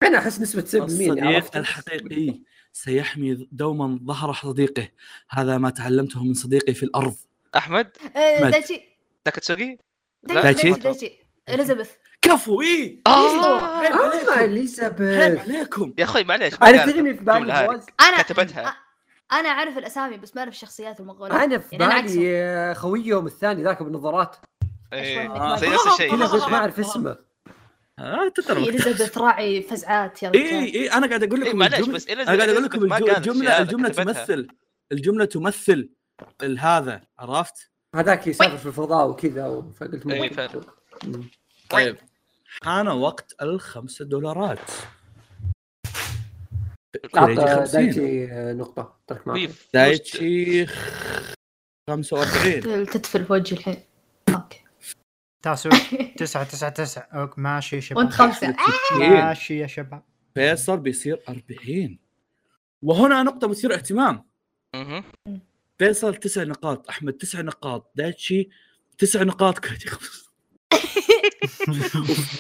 Speaker 5: انا احس نسبه 7% اللي
Speaker 1: الصديق
Speaker 5: عرفته.
Speaker 1: الحقيقي سيحمي دوما ظهر صديقه هذا ما تعلمته من صديقي في الارض
Speaker 3: احمد
Speaker 4: آه،
Speaker 1: مد.
Speaker 4: دايتشي
Speaker 3: تاكاتسوغي
Speaker 4: دايتشي
Speaker 1: دايتشي؟
Speaker 4: دايتشي- دايتشي اليزابيث
Speaker 1: كفو اي
Speaker 3: آه.
Speaker 1: عيب
Speaker 5: اه
Speaker 1: عليكم عيب
Speaker 5: اليزابيث
Speaker 1: عليكم
Speaker 3: يا اخوي معليش ما
Speaker 5: انا
Speaker 3: كانت
Speaker 5: تدري مين في بالي
Speaker 3: الجملة هذه.
Speaker 5: فواز
Speaker 4: انا
Speaker 3: كتبتها.
Speaker 4: أ- انا اعرف الاسامي بس ما اعرف الشخصيات المغولية
Speaker 5: انا في
Speaker 4: يعني أنا عكسهم.
Speaker 5: بالي آه، خويهم الثاني ذاك بالنظارات
Speaker 3: إيه،
Speaker 4: آه.
Speaker 3: زي نفس الشيء
Speaker 5: كذا
Speaker 3: نفس
Speaker 5: قلت ما
Speaker 3: الشيء.
Speaker 5: اعرف اسمه
Speaker 1: آه،
Speaker 4: في
Speaker 1: تترك.
Speaker 4: اليزابيث راعي فزعات يا
Speaker 1: اي
Speaker 4: رجال
Speaker 1: اي انا قاعد اقول
Speaker 3: إيه،
Speaker 1: لكم
Speaker 3: معليش
Speaker 1: الجملة-
Speaker 3: بس إلا-
Speaker 1: انا قاعد اقول
Speaker 3: إلا-
Speaker 1: لكم
Speaker 3: بس ما
Speaker 1: الجو-
Speaker 3: قالت شيء
Speaker 1: الجمله
Speaker 3: هذا،
Speaker 1: الجمله
Speaker 3: كتبتها.
Speaker 1: تمثل الجمله تمثل ال- هذا عرفت؟
Speaker 5: هذاك يسافر في الفضاء وكذا و- فقلت مو
Speaker 3: إيه،
Speaker 5: بقول.
Speaker 3: فعلا.
Speaker 5: مم.
Speaker 1: طيب حان وقت الخمسة دولارات
Speaker 3: طيب.
Speaker 1: كوريجي
Speaker 5: اعطى
Speaker 1: 50
Speaker 5: دايتشي آه، نقطه ترك معك
Speaker 3: ويف.
Speaker 1: دايتشي 45
Speaker 4: تتفل في وجهي الحين اوكي
Speaker 2: تاسوي 9 9 9 اوك ماشي يا شباب
Speaker 4: وانت خمسه
Speaker 2: ماشي يا شباب
Speaker 1: فيصل بيصير 40 وهنا نقطة مثيرة اهتمام
Speaker 3: مهم.
Speaker 1: فيصل تسع نقاط احمد تسع نقاط دايتشي تسع نقاط كوريجي خمس.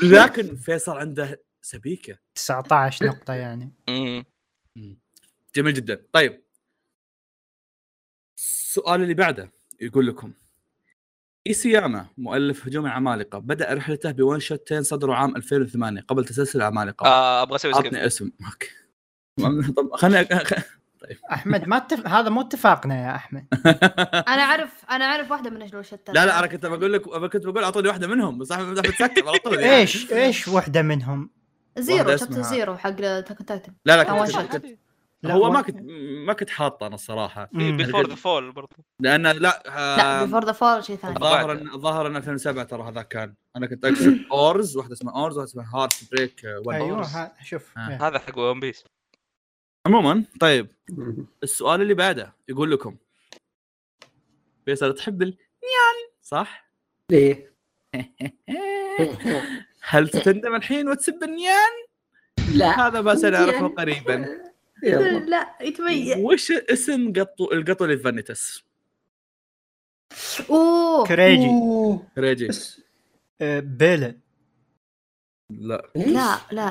Speaker 1: لكن فيصل عنده سبيكة
Speaker 2: 19 نقطة يعني
Speaker 3: مم.
Speaker 1: جميل جدا طيب السؤال اللي بعده يقول لكم إيسياما مؤلف هجوم العمالقة بدأ رحلته بون شوتين صدروا عام 2008 قبل تسلسل العمالقة
Speaker 3: آه، ابغى اسوي سكيب
Speaker 1: عطني اسم اوكي طب خليني أ-
Speaker 2: احمد ما اتف... هذا مو اتفاقنا يا احمد
Speaker 4: انا اعرف انا اعرف واحده من اجل الشتات
Speaker 1: لا لا انا كنت بقول لك أنا كنت بقول اعطوني واحده منهم بس احمد مدح بتسكت على طول يعني.
Speaker 2: ايش ايش وحدة منهم
Speaker 4: زيرو
Speaker 1: واحدة
Speaker 4: شابتر
Speaker 1: اسمها-
Speaker 4: زيرو حق تاكن تايتن
Speaker 1: لا لا
Speaker 4: أول
Speaker 1: كنت-
Speaker 3: إيه،
Speaker 4: شيء.
Speaker 1: كنت
Speaker 2: لا،
Speaker 1: هو
Speaker 2: ما-
Speaker 1: ما كنت ما كنت حاطه انا الصراحه
Speaker 2: مم.
Speaker 3: بيفور ذا فول برضو
Speaker 1: لان لا
Speaker 4: لا
Speaker 1: آه،
Speaker 4: بيفور ذا فول شيء ثاني
Speaker 1: الظاهر ان الظاهر ان 2007 ترى هذا كان انا كنت اقصد اورز واحده اسمها اورز واحده اسمها هارت بريك آه، ون.
Speaker 2: ايوه
Speaker 3: أورس.
Speaker 2: ها- شوف
Speaker 1: آه.
Speaker 2: إيه.
Speaker 3: هذا حق ون بيس
Speaker 1: عموما طيب
Speaker 5: مم.
Speaker 1: السؤال اللي بعده يقول لكم فيصل تحب النيان صح؟
Speaker 5: ليه؟
Speaker 1: هل تندم الحين وتسب النيان؟
Speaker 5: لا
Speaker 1: هذا ما سنعرفه قريبا
Speaker 5: يلا
Speaker 4: لا يتميز
Speaker 1: وش اسم قطو القطو اللي في فانيتس؟
Speaker 4: اوه
Speaker 2: كريجي
Speaker 5: أوه.
Speaker 1: ريجي
Speaker 5: بس
Speaker 2: آه، بيلا
Speaker 1: لا
Speaker 4: لا لا لا لا لا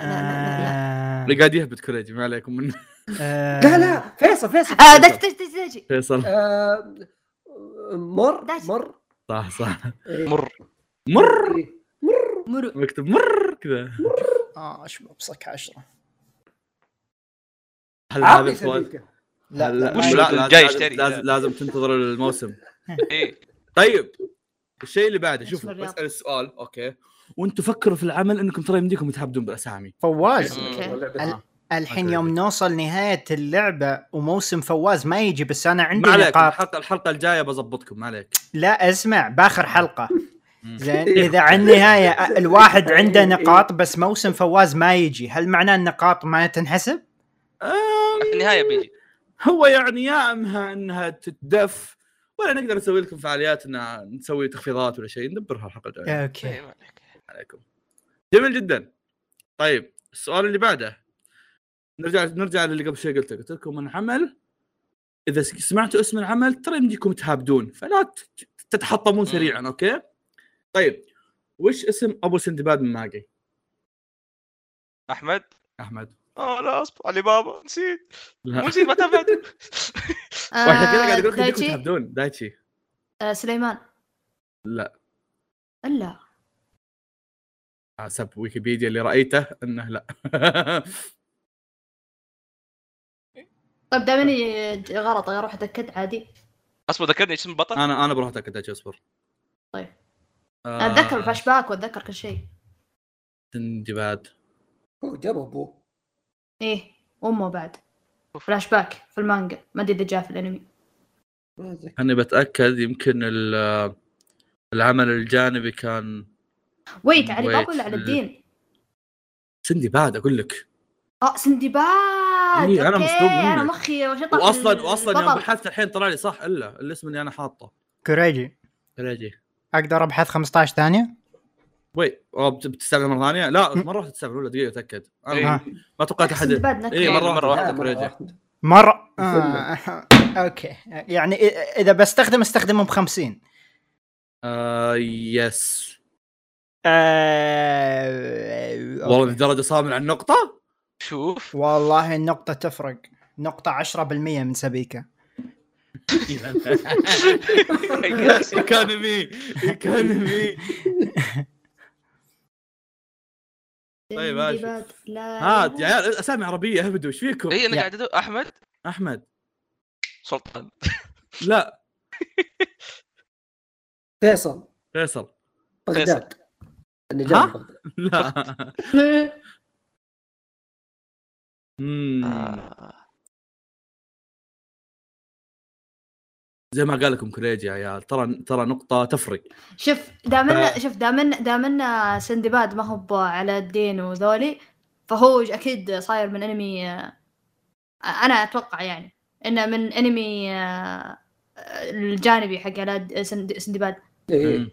Speaker 2: آه،
Speaker 1: اللي قاعد يهبط كريجي ما عليكم من
Speaker 2: آه،
Speaker 5: لا لا فيصل فيصل
Speaker 4: آه، دش دش دش دش
Speaker 1: فيصل
Speaker 5: آه، مر
Speaker 4: داش.
Speaker 5: مر
Speaker 1: صح صح
Speaker 5: إيه.
Speaker 3: مر
Speaker 1: مر
Speaker 5: إيه.
Speaker 4: مرو
Speaker 1: مكتب مر كذا
Speaker 2: اه شباب صك عشرة
Speaker 1: هل هذا
Speaker 5: عطني
Speaker 1: السؤال
Speaker 5: سبيكة.
Speaker 2: لا
Speaker 1: هل- لا
Speaker 2: لا
Speaker 3: وش
Speaker 1: لا،
Speaker 3: يقول
Speaker 1: لازم-
Speaker 3: جاي
Speaker 1: لازم-
Speaker 3: يشتري؟
Speaker 1: لازم لازم تنتظر الموسم
Speaker 3: ايه
Speaker 1: طيب الشيء اللي بعده شوف
Speaker 4: اسم الرياض.
Speaker 1: بسال السؤال اوكي وانتم فكروا في العمل انكم ترى يمديكم تهبدون بالاسامي
Speaker 2: فواز
Speaker 4: اوكي
Speaker 5: لعبة.
Speaker 2: الحين
Speaker 1: أوكي.
Speaker 2: يوم نوصل نهايه اللعبه وموسم فواز ما يجي بس انا عندي
Speaker 1: ما عليك
Speaker 2: نقاط
Speaker 1: الحلقه الحلقه الجايه بظبطكم ما عليك
Speaker 2: لا اسمع باخر حلقه
Speaker 1: مم.
Speaker 2: زين اذا عن النهايه الواحد عنده نقاط بس موسم فواز ما يجي هل معناه النقاط ما تنحسب؟
Speaker 1: آم،
Speaker 3: في النهايه بيجي
Speaker 1: هو يعني يا امها انها تتدف ولا نقدر نسوي لكم فعاليات ان نسوي تخفيضات ولا شيء ندبرها الحلقه الجايه
Speaker 2: اوكي
Speaker 3: إيه، ما عليك.
Speaker 1: عليكم جميل جدا طيب السؤال اللي بعده نرجع نرجع للي قبل شوي قلته قلت لكم ان عمل اذا س- سمعتوا اسم العمل ترى يمديكم تهابدون فلا ت- تتحطمون سريعا اوكي طيب وش اسم ابو سندباد من ماجي
Speaker 3: احمد
Speaker 1: احمد
Speaker 3: اه لا اصبر علي بابا نسيت
Speaker 1: لا
Speaker 3: مو نسيت ما تابعت
Speaker 4: آه،
Speaker 1: وعشان كذا قاعد اقول لكم يمديكم
Speaker 4: دايتشي
Speaker 1: تهابدون دايتشي
Speaker 4: آه، سليمان
Speaker 1: لا.
Speaker 4: لا
Speaker 1: حسب ويكيبيديا اللي رايته انه لا
Speaker 4: طيب دائما غلط اروح اتاكد عادي
Speaker 3: اصبر ذكرني اسم البطل
Speaker 1: انا انا بروح اتاكد دايتشي اصبر
Speaker 4: طيب.
Speaker 1: آه،
Speaker 4: انا اتذكر الفلاش باك واتذكر كل شيء
Speaker 1: سندباد
Speaker 5: هو جابه ابوه
Speaker 4: ايه امه بعد فلاش باك في المانجا ما ادري اذا جاء في الانمي
Speaker 5: ما أدري.
Speaker 1: انا بتاكد يمكن ال- العمل الجانبي كان
Speaker 4: ويت علي
Speaker 1: ويت،
Speaker 4: بابا ولا على الدين؟
Speaker 1: سندباد اقول لك
Speaker 4: اه سندباد
Speaker 1: إيه، أنا
Speaker 4: أوكي،
Speaker 1: مصدوم
Speaker 4: انا
Speaker 1: منك.
Speaker 4: مخي وشطح
Speaker 1: واصلا واصلا يوم
Speaker 4: البطل.
Speaker 1: بحثت الحين طلع لي صح الا الاسم اللي انا حاطه
Speaker 2: كوريجي
Speaker 1: ريجي
Speaker 2: اقدر ابحث 15 ثانيه؟
Speaker 1: وي أو بت- بتستعمل مره ثانيه لا مره واحده تستعمل ولا دقيقه اتاكد
Speaker 3: إيه.
Speaker 1: انا
Speaker 2: ها.
Speaker 1: ما توقعت احد
Speaker 4: سندباد نكهة.
Speaker 1: اي مره
Speaker 3: مرة
Speaker 1: واحده واحده
Speaker 3: واحدة
Speaker 5: لا، مرة
Speaker 1: كوريجي
Speaker 5: واحدة.
Speaker 2: مرة آه. اوكي يعني إ- اذا بستخدم استخدمه ب 50
Speaker 1: آه يس
Speaker 2: آه...
Speaker 1: والله
Speaker 2: أوكي.
Speaker 1: لدرجه صامل عن النقطه
Speaker 3: شوف
Speaker 2: والله النقطة تفرق نقطة 10% من سبيكة
Speaker 1: ايكونومي ايكونومي طيب، آه، شوف.
Speaker 4: سندباد، لا
Speaker 1: هات يا عيال اسامي عربيه اهبدوا ايش فيكم؟
Speaker 3: اي انا
Speaker 2: يا.
Speaker 3: إيه، قاعد أدور. احمد
Speaker 1: احمد
Speaker 3: سلطان
Speaker 1: لا
Speaker 5: فيصل
Speaker 1: فيصل
Speaker 5: بغداد اللي
Speaker 1: ها؟
Speaker 5: جابه بغداد.
Speaker 1: لا مم.
Speaker 3: آه.
Speaker 1: زي ما قال لكم كريجي يا عيال ترى ترى نقطه تفرق
Speaker 4: شوف دامنا شوف دامنا دامنا سندباد ما هو ب على الدين وذولي فهو اكيد صاير من انمي آه، انا اتوقع يعني انه من انمي آه، آه، الجانبي حق على الد- سند- سندباد
Speaker 5: إيه.
Speaker 1: مم.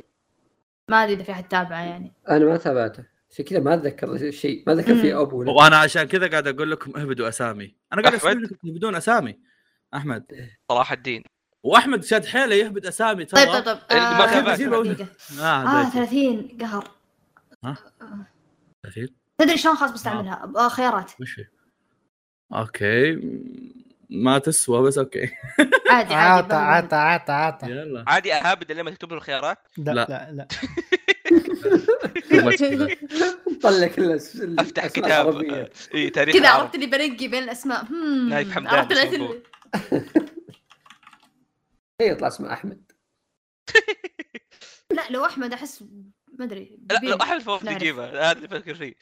Speaker 4: ما ادري اذا في احد تابعه يعني
Speaker 5: انا ما تابعته عشان كذا ما اتذكر شيء ما اتذكر فيه ابو ولا-
Speaker 1: وانا عشان كذا قاعد اقول لكم اهبدوا اسامي انا قاعد
Speaker 3: أحمد.
Speaker 1: اسوي لكم بدون اسامي احمد
Speaker 3: صلاح الدين
Speaker 1: واحمد شاد حيله يهبد اسامي ترى
Speaker 4: طيب طيب طيب
Speaker 3: اللي ما
Speaker 4: آه،
Speaker 3: تابعته.
Speaker 4: دقيقة.
Speaker 1: آه
Speaker 4: اه
Speaker 1: دايتشي.
Speaker 4: 30 قهر
Speaker 1: أثير؟
Speaker 4: تدري شلون خلاص بستعملها آه، خيارات
Speaker 1: وش هي؟ اوكي ما تسوى بس اوكي
Speaker 4: عادي عادي
Speaker 2: عطا
Speaker 4: بهبل.
Speaker 2: عطا عطا عطا
Speaker 1: يلا
Speaker 3: عادي اهابد لما تكتب له الخيارات
Speaker 2: لا
Speaker 1: لا.
Speaker 2: لا لا
Speaker 5: طلع كل الأس-
Speaker 3: افتح
Speaker 5: الأسماء
Speaker 3: كتاب
Speaker 5: العربية.
Speaker 3: اي إيه، تاريخ
Speaker 4: كذا
Speaker 3: العرب.
Speaker 4: عرفت اللي بنقي بين الاسماء هم
Speaker 3: نايف حمدان
Speaker 4: عرفت
Speaker 3: اسمه
Speaker 4: الأسماء.
Speaker 3: هو.
Speaker 5: إيه، يطلع اسمه احمد
Speaker 4: لا لو احمد احس ما ادري
Speaker 3: لا
Speaker 4: بيبي.
Speaker 3: لو احمد فوف
Speaker 4: نعرف.
Speaker 3: يجيبها هذا اللي بفكر فيه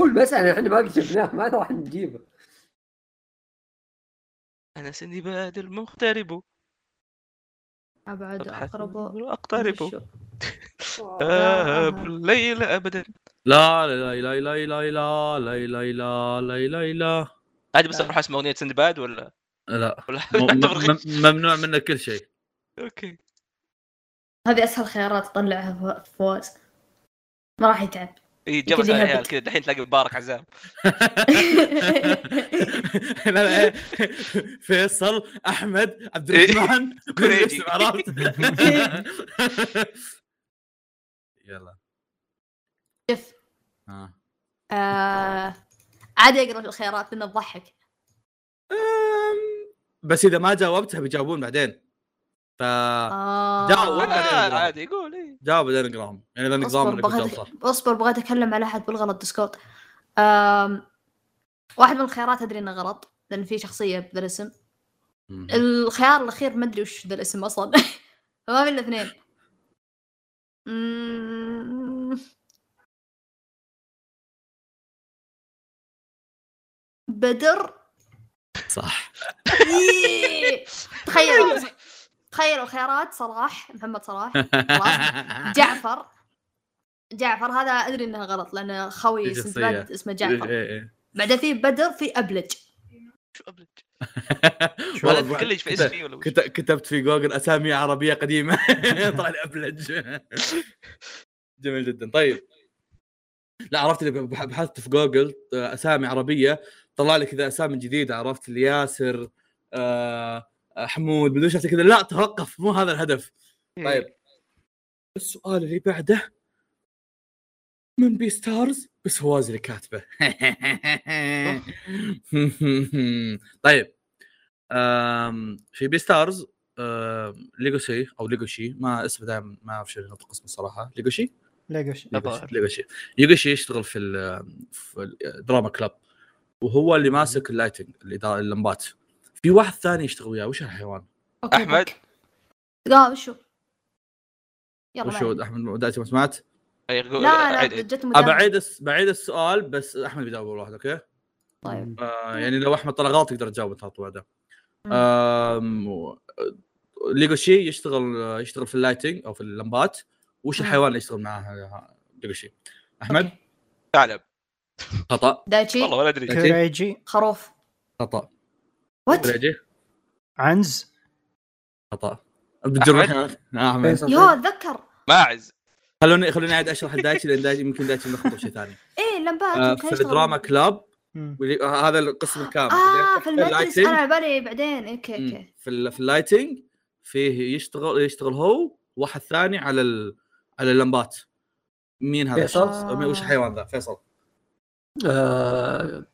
Speaker 5: هو المساله احنا ما جبناه ما راح نجيبه
Speaker 3: انا سندباد المغترب
Speaker 4: ابعد
Speaker 3: أبحث
Speaker 4: اقرب
Speaker 3: اقترب
Speaker 4: آه،
Speaker 3: آب الليل ابدا
Speaker 1: لا لا لا لا لا لا لا لا لا لا لا لا
Speaker 3: عادي بس
Speaker 4: لا.
Speaker 3: اروح اسمع اغنيه سندباد ولا
Speaker 1: لا
Speaker 3: ولا
Speaker 1: م-
Speaker 3: أعتبر
Speaker 1: م-
Speaker 3: غش.
Speaker 1: م- ممنوع منه كل شيء
Speaker 3: اوكي
Speaker 4: هذه اسهل خيارات تطلعها فو- فواز ما راح يتعب
Speaker 3: اي جبت
Speaker 4: يمكن
Speaker 3: على إيه، العيال
Speaker 4: يهبط.
Speaker 3: كذا الحين تلاقي مبارك عزام
Speaker 1: لا لا فيصل احمد عبد الرحمن من
Speaker 3: كريدي.
Speaker 1: الاسم، عرفت يلا
Speaker 4: شوف
Speaker 1: ها
Speaker 4: آه عادي اقرا الخيارات لانه تضحك
Speaker 1: أم، بس اذا ما جاوبتها بيجاوبون بعدين ف
Speaker 4: آه
Speaker 1: جاوب. ولا
Speaker 3: ولا
Speaker 1: يقرأ.
Speaker 3: عادي يقول إيه. اي
Speaker 1: جاوب بعدين اقراهم يعني لان نظام
Speaker 4: اصبر
Speaker 1: اللي قلت
Speaker 4: بغيت
Speaker 1: صح
Speaker 4: اصبر بغيت اكلم على احد بالغلط ديسكورد آم... واحد من الخيارات ادري انه غلط لان في شخصيه بذا الاسم
Speaker 1: مم.
Speaker 4: الخيار الاخير ما ادري وش ذا الاسم اصلا فما في الا اثنين مم. بدر
Speaker 1: صح
Speaker 4: إيه. تخيلوا تخيلوا الخيارات صلاح محمد صلاح خلاص. جعفر جعفر هذا ادري انها غلط لان خوي
Speaker 1: في شخصية.
Speaker 4: سندباد اسمه
Speaker 1: إيه،
Speaker 4: جعفر
Speaker 1: إيه، إيه.
Speaker 4: بعدين في بدر في ابلج
Speaker 3: شو أبلج؟
Speaker 1: شو
Speaker 3: ولا
Speaker 1: وضعك؟
Speaker 3: تكلج في
Speaker 1: كت-
Speaker 3: اسمي ولا وش؟
Speaker 1: كت- كتبت في جوجل اسامي عربيه قديمه طلع لي ابلج جميل جدا طيب لا عرفت اللي بح- بحثت في جوجل آه، اسامي عربيه طلع لي كذا اسامي جديده عرفت اللي ياسر آه، آه، حمود مدري ايش عرفت كذا لا توقف مو هذا الهدف طيب السؤال اللي بعده من بي ستارز بس فواز اللي كاتبه طيب أم، في بي ستارز أم، ليجوسي او ليجوشي ما اسمه دائما ما اعرف شو ينطق اسمه صراحه ليجوشي
Speaker 2: لقوا شيء
Speaker 3: الظاهر.
Speaker 1: ليجوشي ليجوشي يشتغل في, ال- في الدراما كلاب وهو اللي ماسك اللايتنج الإضاءة- اللمبات في واحد ثاني يشتغل وياه وش الحيوان؟
Speaker 4: أوكي،
Speaker 3: أحمد.
Speaker 4: أوكي. لا وشو يلا
Speaker 1: وش
Speaker 4: بعد.
Speaker 1: هو احمد مدعتي ما سمعت؟
Speaker 3: أي يقول-
Speaker 4: لا
Speaker 3: عادي.
Speaker 4: لا جت
Speaker 1: أه،
Speaker 4: مدام
Speaker 1: بعيد الس- بعيد السؤال بس احمد بيجاوب أول واحد اوكي؟
Speaker 4: طيب
Speaker 1: آه يعني لو احمد طلع غلط تقدر تجاوب انت على طول بعدها. آم، و- ليجوشي يشتغل يشتغل في اللايتنج او في اللمبات وش
Speaker 4: مم.
Speaker 1: الحيوان اللي يشتغل معاه ليجوشي؟ احمد
Speaker 4: أوكي.
Speaker 3: ثعلب
Speaker 1: خطا
Speaker 3: والله
Speaker 4: دايتشي
Speaker 3: ولا
Speaker 2: إيه.
Speaker 3: ادري
Speaker 2: كوريجي
Speaker 4: خروف
Speaker 1: خطا
Speaker 4: وات
Speaker 1: ريجي
Speaker 2: عنز
Speaker 1: خطا بتجرب آه، احمد
Speaker 5: فيصل
Speaker 4: يا اتذكر
Speaker 3: ماعز
Speaker 1: خلوني خلوني اعيد اشرح لدايتشي لان دايتشي يمكن دايتشي نخبط شيء ثاني
Speaker 4: ايه لمبات
Speaker 1: آه،
Speaker 4: كان
Speaker 1: في
Speaker 4: يشتغل-
Speaker 1: الدراما كلاب
Speaker 2: مم.
Speaker 1: واللي- آه، هذا القسم الكامل
Speaker 4: اه في المجلس
Speaker 1: اللايتنج.
Speaker 4: انا على بالي بعدين اوكي
Speaker 1: مم.
Speaker 4: اوكي
Speaker 1: في ال- في اللايتنج فيه يشتغل يشتغل هو واحد ثاني على ال... على اللمبات مين هذا
Speaker 5: فيصل؟
Speaker 1: الشخص؟ مين- وش الحيوان ذا فيصل
Speaker 5: آه،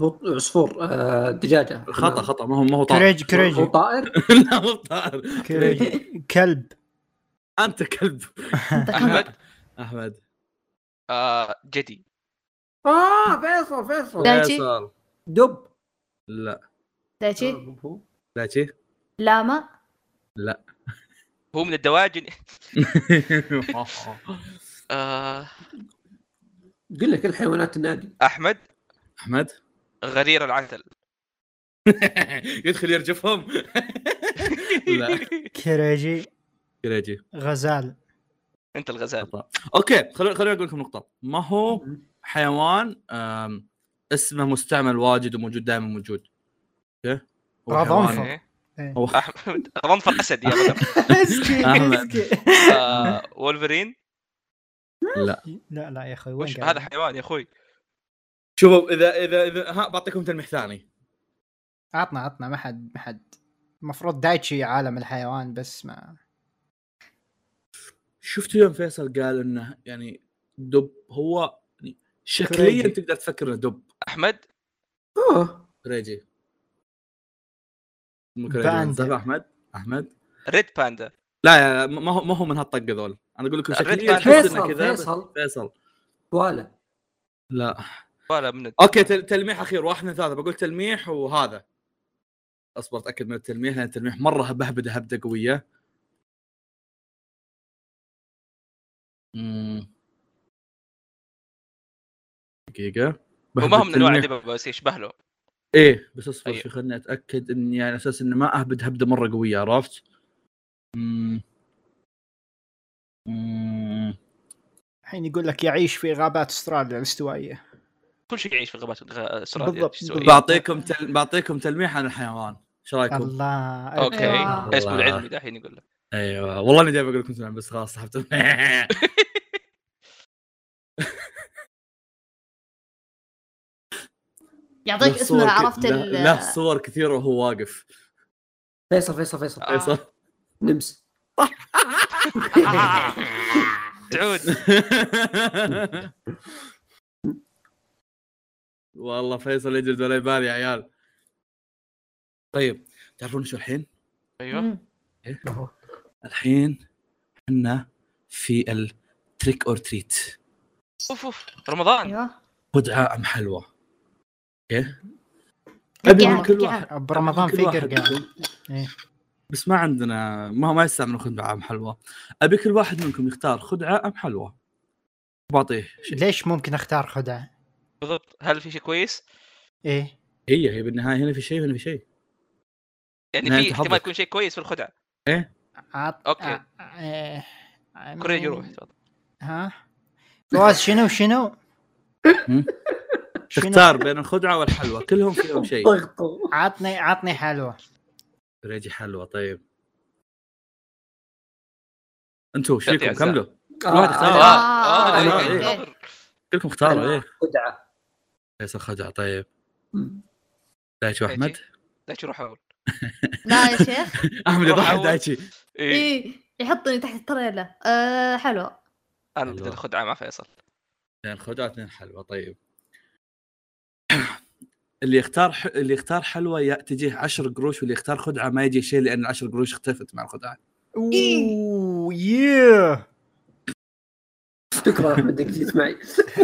Speaker 5: هو عصفور آه، دجاجه
Speaker 1: خطا خطا ما هو ما هو طائر
Speaker 2: كوريجي
Speaker 5: هو
Speaker 2: كوريجي
Speaker 5: طائر
Speaker 1: لا مو طائر
Speaker 2: كوريجي كلب
Speaker 1: انت كلب
Speaker 4: ذكرت.
Speaker 3: احمد
Speaker 1: احمد
Speaker 3: آه جدي
Speaker 5: اه فيصل فيصل
Speaker 4: لا. دايتشي؟
Speaker 1: فيصل
Speaker 5: دب
Speaker 1: لا
Speaker 4: دايتشي
Speaker 1: دايتشي
Speaker 4: لاما
Speaker 3: هو من الدواجن آه
Speaker 5: قل لك كل حيوانات النادي
Speaker 3: احمد
Speaker 1: احمد
Speaker 3: غرير العسل
Speaker 1: يدخل يرجفهم لا
Speaker 2: كوريجي
Speaker 1: كريجي
Speaker 2: غزال
Speaker 3: انت الغزال
Speaker 1: خطا اوكي خلوني خلوني اقول لكم نقطه ما هو حيوان آم، اسمه مستعمل واجد وموجود دائما موجود اوكي هو
Speaker 2: رضنفة.
Speaker 1: حيوان-
Speaker 3: إيه.
Speaker 1: هو
Speaker 3: احمد رنفر اسد يا رجل
Speaker 2: اسكي
Speaker 1: أحمد.
Speaker 2: اسكي
Speaker 3: آه وولفرين
Speaker 2: لا لا يا اخوي وين
Speaker 3: وش
Speaker 2: قاعد؟
Speaker 3: هذا حيوان يا اخوي
Speaker 1: شوفوا اذا اذا اذا ها بعطيكم تلميح ثاني
Speaker 2: عطنا عطنا ما حد ما حد المفروض دايتشي عالم الحيوان بس ما
Speaker 1: شفتوا يوم فيصل قال انه يعني دب هو يعني شكليا
Speaker 2: كريجي.
Speaker 1: تقدر تفكر انه دب
Speaker 3: احمد
Speaker 1: آه.
Speaker 5: اه
Speaker 1: كريجي مو
Speaker 2: باندا.
Speaker 1: كريجي صح، احمد احمد
Speaker 3: ريد باندا
Speaker 1: لا لا لا، ما هو ما هو من هالطق ذول انا اقول لكم
Speaker 3: الريد
Speaker 1: شكليا
Speaker 3: باندا.
Speaker 1: تحس انه
Speaker 5: فيصل
Speaker 1: كذا بس-
Speaker 5: فيصل
Speaker 1: فيصل
Speaker 5: ولا
Speaker 1: لا
Speaker 3: ولا من
Speaker 1: اوكي تل... تلميح اخير واحد من ثلاثه بقول تلميح وهذا اصبر اتاكد من التلميح لان التلميح مره بهبده هبده قويه أمم. دقيقه
Speaker 3: وما هو من انواع
Speaker 1: التلميح.
Speaker 3: الدببه بس يشبه له
Speaker 1: ايه بس اصبر
Speaker 3: أيوه.
Speaker 1: شوي خليني اتاكد اني على اساس اني ما اهبد هبده مره قويه عرفت؟ أمم. أمم.
Speaker 2: الحين يقول لك يعيش في غابات استراليا الاستوائيه
Speaker 3: كل شيء يعيش في الغابات غ- استراليا
Speaker 2: بالضبط،
Speaker 3: شو يسوي؟
Speaker 2: بالضبط.
Speaker 1: بعطيكم تل... بعطيكم تلميح عن الحيوان ايش رايكم؟
Speaker 2: الله
Speaker 3: اوكي
Speaker 2: آه.
Speaker 4: أيوة.
Speaker 3: اسمه العلمي دحين يقول لك
Speaker 1: ايوه والله اني جاي بقول لكم تلميح بس خلاص سحبت
Speaker 4: يعطيك
Speaker 1: له صور
Speaker 4: اسمه
Speaker 1: ك-
Speaker 4: عرفت
Speaker 1: له-
Speaker 4: ال-
Speaker 1: له صور كثيره وهو واقف
Speaker 5: فيصل فيصل فيصل
Speaker 3: آه.
Speaker 1: فيصل
Speaker 5: نمس
Speaker 3: سعود
Speaker 1: والله فيصل يجلد ولا يبالي يا عيال طيب تعرفون شو الحين؟
Speaker 3: ايوه
Speaker 4: مم.
Speaker 1: الحين احنا في التريك اور تريت
Speaker 3: اوف اوف رمضان
Speaker 4: ايوه
Speaker 1: خدعه ام حلوى اوكي
Speaker 2: أبي
Speaker 4: قرقعة،
Speaker 2: من كل
Speaker 4: قرقعة.
Speaker 1: واحد.
Speaker 2: برمضان
Speaker 1: كل
Speaker 2: في
Speaker 1: واحد
Speaker 2: قرقعه
Speaker 1: منكم-
Speaker 2: إيه.
Speaker 1: بس ما عندنا ما ما يستعملوا خدعه ام حلوى ابي كل واحد منكم يختار خدعه ام حلوى بعطيه شيء
Speaker 2: ليش ممكن اختار خدعه؟
Speaker 3: بالضبط هل في شيء كويس؟
Speaker 2: ايه
Speaker 1: هي هي بالنهايه هنا في شيء وهنا في شيء
Speaker 3: يعني
Speaker 1: لا،
Speaker 3: في
Speaker 1: أنت
Speaker 3: احتمال
Speaker 1: حظك.
Speaker 3: يكون شيء كويس في الخدعه
Speaker 2: عط...
Speaker 3: أوكي.
Speaker 2: آ- إيه. I
Speaker 3: كوريجي
Speaker 2: mean-
Speaker 3: روح تفضل
Speaker 2: ها فواز شنو شنو؟
Speaker 1: هم؟
Speaker 2: شنو؟
Speaker 1: تختار بين الخدعه والحلوى كلهم فيهم شيء
Speaker 5: ضغطوا
Speaker 2: عطني عطني حلوه
Speaker 1: ريجي حلوى طيب انتوا ايش
Speaker 3: يعطي
Speaker 1: فيكم
Speaker 3: عزام.
Speaker 1: كملوا
Speaker 5: آه،
Speaker 1: واحد
Speaker 5: آه،
Speaker 1: اختار
Speaker 3: آه، آه،
Speaker 1: آه،
Speaker 3: أنا
Speaker 1: آه،
Speaker 3: قاعد
Speaker 1: إيه.
Speaker 3: أنتظر.
Speaker 1: كلكم اختاروا ايه
Speaker 5: خدعه
Speaker 1: فيصل خدعه طيب
Speaker 5: مم.
Speaker 1: دايتشي واحمد
Speaker 3: لا تروح اول
Speaker 4: لا يا شيخ
Speaker 1: احمد
Speaker 3: روح
Speaker 1: يضحك
Speaker 3: أول.
Speaker 1: دايتشي
Speaker 4: إيه.
Speaker 3: ايه
Speaker 4: اي يحطني تحت التريلا أه حلو
Speaker 3: انا بدي الخدعه مع فيصل
Speaker 1: اثنين خدعه اثنين حلوى طيب اللي يختار ح... اللي يختار حلوى يا- تجيه 10 قروش واللي يختار خدعه ما يجي شيء لان 10 قروش اختفت مع الخدعه
Speaker 4: إيه.
Speaker 2: اوه ياه
Speaker 5: شكرا احمد انك جيت معي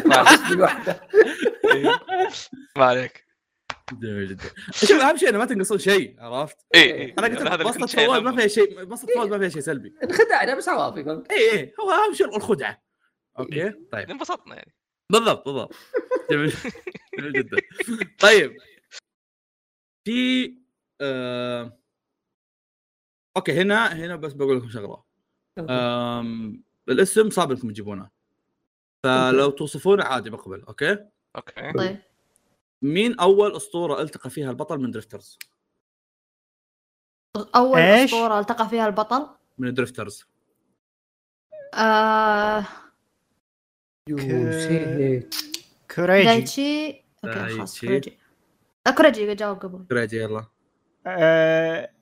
Speaker 3: ما عليك.
Speaker 5: لوحده
Speaker 3: ما عليك
Speaker 1: جميل جدا شوف اهم شيء انه ما تنقصون شيء عرفت؟
Speaker 3: اي اي
Speaker 1: انا قلت لك بسطه فواز ما فيها شيء بسطه فواز ما فيها شيء سلبي
Speaker 5: انخدعنا بس عوافي فهمت؟
Speaker 1: اي اي هو اهم شيء الخدعه اوكي طيب
Speaker 3: انبسطنا يعني
Speaker 1: بالضبط بالضبط جميل جميل جدا طيب في آه... اوكي هنا هنا بس بقول لكم شغله أم... الاسم صعب انكم تجيبونه فلو توصفونه عادي بقبل اوكي
Speaker 3: اوكي
Speaker 4: طيب
Speaker 1: مين اول اسطوره التقى فيها البطل من درفترز
Speaker 4: اول
Speaker 2: إيش؟
Speaker 4: اسطوره التقى فيها البطل
Speaker 1: من درفترز
Speaker 4: أه
Speaker 5: يوسي.
Speaker 2: كوريجي
Speaker 4: دايتشي اوكي خلاص
Speaker 1: دايتشي.
Speaker 4: كوريجي آه، كوريجي جاوب قبل
Speaker 1: كريجي يلا
Speaker 2: آه،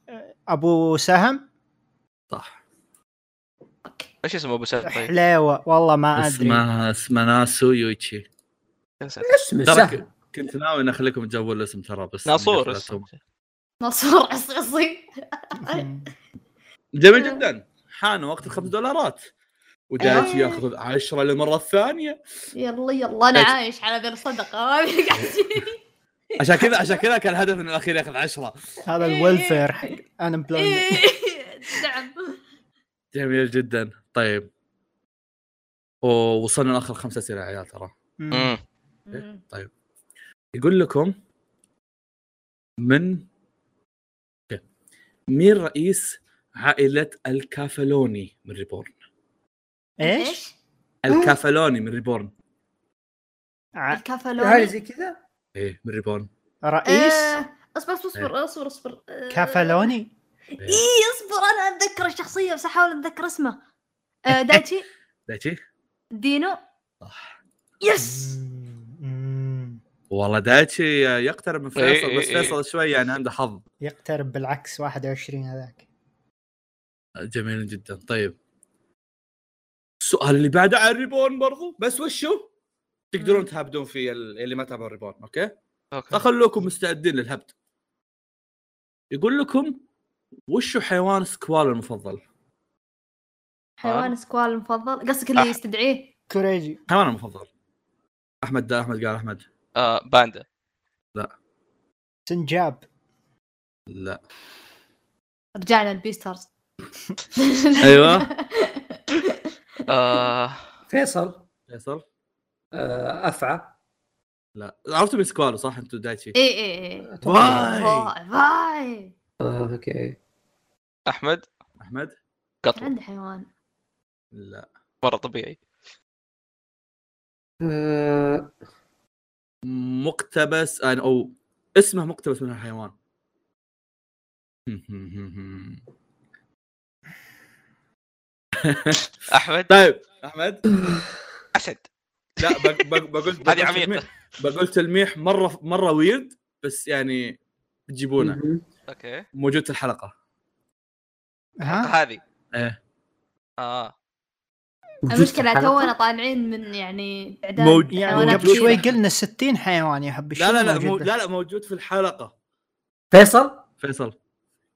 Speaker 2: ابو سهم
Speaker 1: صح
Speaker 3: ايش اسمه ابو سعد طيب
Speaker 2: حلاوه والله ما ادري
Speaker 1: اسمها اسمها ناسو يويتشي
Speaker 3: يا ساتر.
Speaker 5: اسمه
Speaker 1: ترى
Speaker 5: سهل
Speaker 1: ك- كنت ناوي اني اخليكم تجاوبون الاسم ترى بس
Speaker 3: ناصور
Speaker 1: اسمه
Speaker 3: اسمه.
Speaker 4: نصور عصيصي إيه.
Speaker 1: جميل جدا حان وقت الخمس دولارات ودايتشي
Speaker 4: أيوة.
Speaker 1: ياخذ عشرة للمره الثانيه
Speaker 4: يلا يلا انا
Speaker 1: دايتشي.
Speaker 4: عايش على ذي الصدقه ما أدري قاعد يصير.
Speaker 1: عشان كذا عشان كذا كان الهدف من الاخير ياخذ عشرة
Speaker 2: هذا
Speaker 4: إيه.
Speaker 2: الويلفير حق ان
Speaker 4: إيه، نعم
Speaker 1: جميل جدا طيب ووصلنا لاخر خمسة اسئله يا عيال ترى
Speaker 3: مم.
Speaker 4: مم.
Speaker 1: يقول لكم من أوكي. مين رئيس عائله الكافلوني من ريبورن
Speaker 2: ايش؟
Speaker 1: الكافلوني من ريبورن
Speaker 2: ع-
Speaker 5: هذه
Speaker 4: الكافالوني
Speaker 5: زي كذا
Speaker 1: ايه من ريبورن
Speaker 2: رئيس
Speaker 4: آه، اصبر اصبر اصبر اصبر اصبر آه،
Speaker 2: كافالوني
Speaker 4: اي اصبر انا اتذكر الشخصيه بس احاول اتذكر اسمه آه، دايتشي
Speaker 1: دايتشي
Speaker 4: دينو
Speaker 1: صح
Speaker 4: يس
Speaker 2: مم.
Speaker 1: والله دايتشي يقترب من
Speaker 3: إيه،
Speaker 1: فيصل
Speaker 3: إيه،
Speaker 1: بس
Speaker 3: إيه.
Speaker 1: فيصل شوي يعني عنده حظ
Speaker 2: يقترب بالعكس 21 هذاك
Speaker 1: جميل جدا طيب السؤال اللي بعده عن ريبون برضو بس وشو تقدرون تهبدون في ال- اللي ما تابعوا ريبون اوكي
Speaker 3: اوكي
Speaker 1: فخلوكم مستعدين للهبد يقول لكم وشو حيوان سكوال المفضل
Speaker 4: حيوان سكوال المفضل قصدك اللي يستدعيه
Speaker 2: كوريجي
Speaker 1: حيوان المفضل احمد ده احمد قال احمد
Speaker 3: آه باندا
Speaker 2: سنجاب
Speaker 1: لا
Speaker 4: رجعنا البيسترز
Speaker 1: ايوه
Speaker 3: آه
Speaker 5: فيصل
Speaker 1: فيصل
Speaker 5: آه، افعى
Speaker 1: لا عرفتوا من سكوالو صح انتم دايتشي
Speaker 4: اي اي اي
Speaker 1: واي
Speaker 4: باي باي
Speaker 5: آه، اوكي
Speaker 3: احمد
Speaker 1: احمد
Speaker 3: قطو
Speaker 4: عندي حيوان
Speaker 1: لا
Speaker 3: مره طبيعي
Speaker 5: آه،
Speaker 1: مقتبس أنا- او اسمه مقتبس من الحيوان
Speaker 3: احمد
Speaker 1: طيب احمد
Speaker 3: اسد
Speaker 1: لا بق- بق- بقول بقول
Speaker 3: هذه عميقه
Speaker 1: تلميح- بقول تلميح مره مره ويرد بس يعني بتجيبونه
Speaker 5: مهم.
Speaker 3: اوكي
Speaker 1: موجود في الحلقه
Speaker 2: ها
Speaker 3: هذه
Speaker 1: إيه.
Speaker 3: اه
Speaker 4: المشكله تونا طالعين من يعني اعداد
Speaker 1: موج-
Speaker 2: يعني
Speaker 4: حيوانات
Speaker 2: قبل شوي
Speaker 4: كثيرة.
Speaker 2: قلنا 60 حيوان يا حبي
Speaker 1: لا لا لا
Speaker 2: شنو
Speaker 1: مو
Speaker 2: موجود؟
Speaker 1: لا لا موجود في الحلقه
Speaker 5: فيصل
Speaker 1: فيصل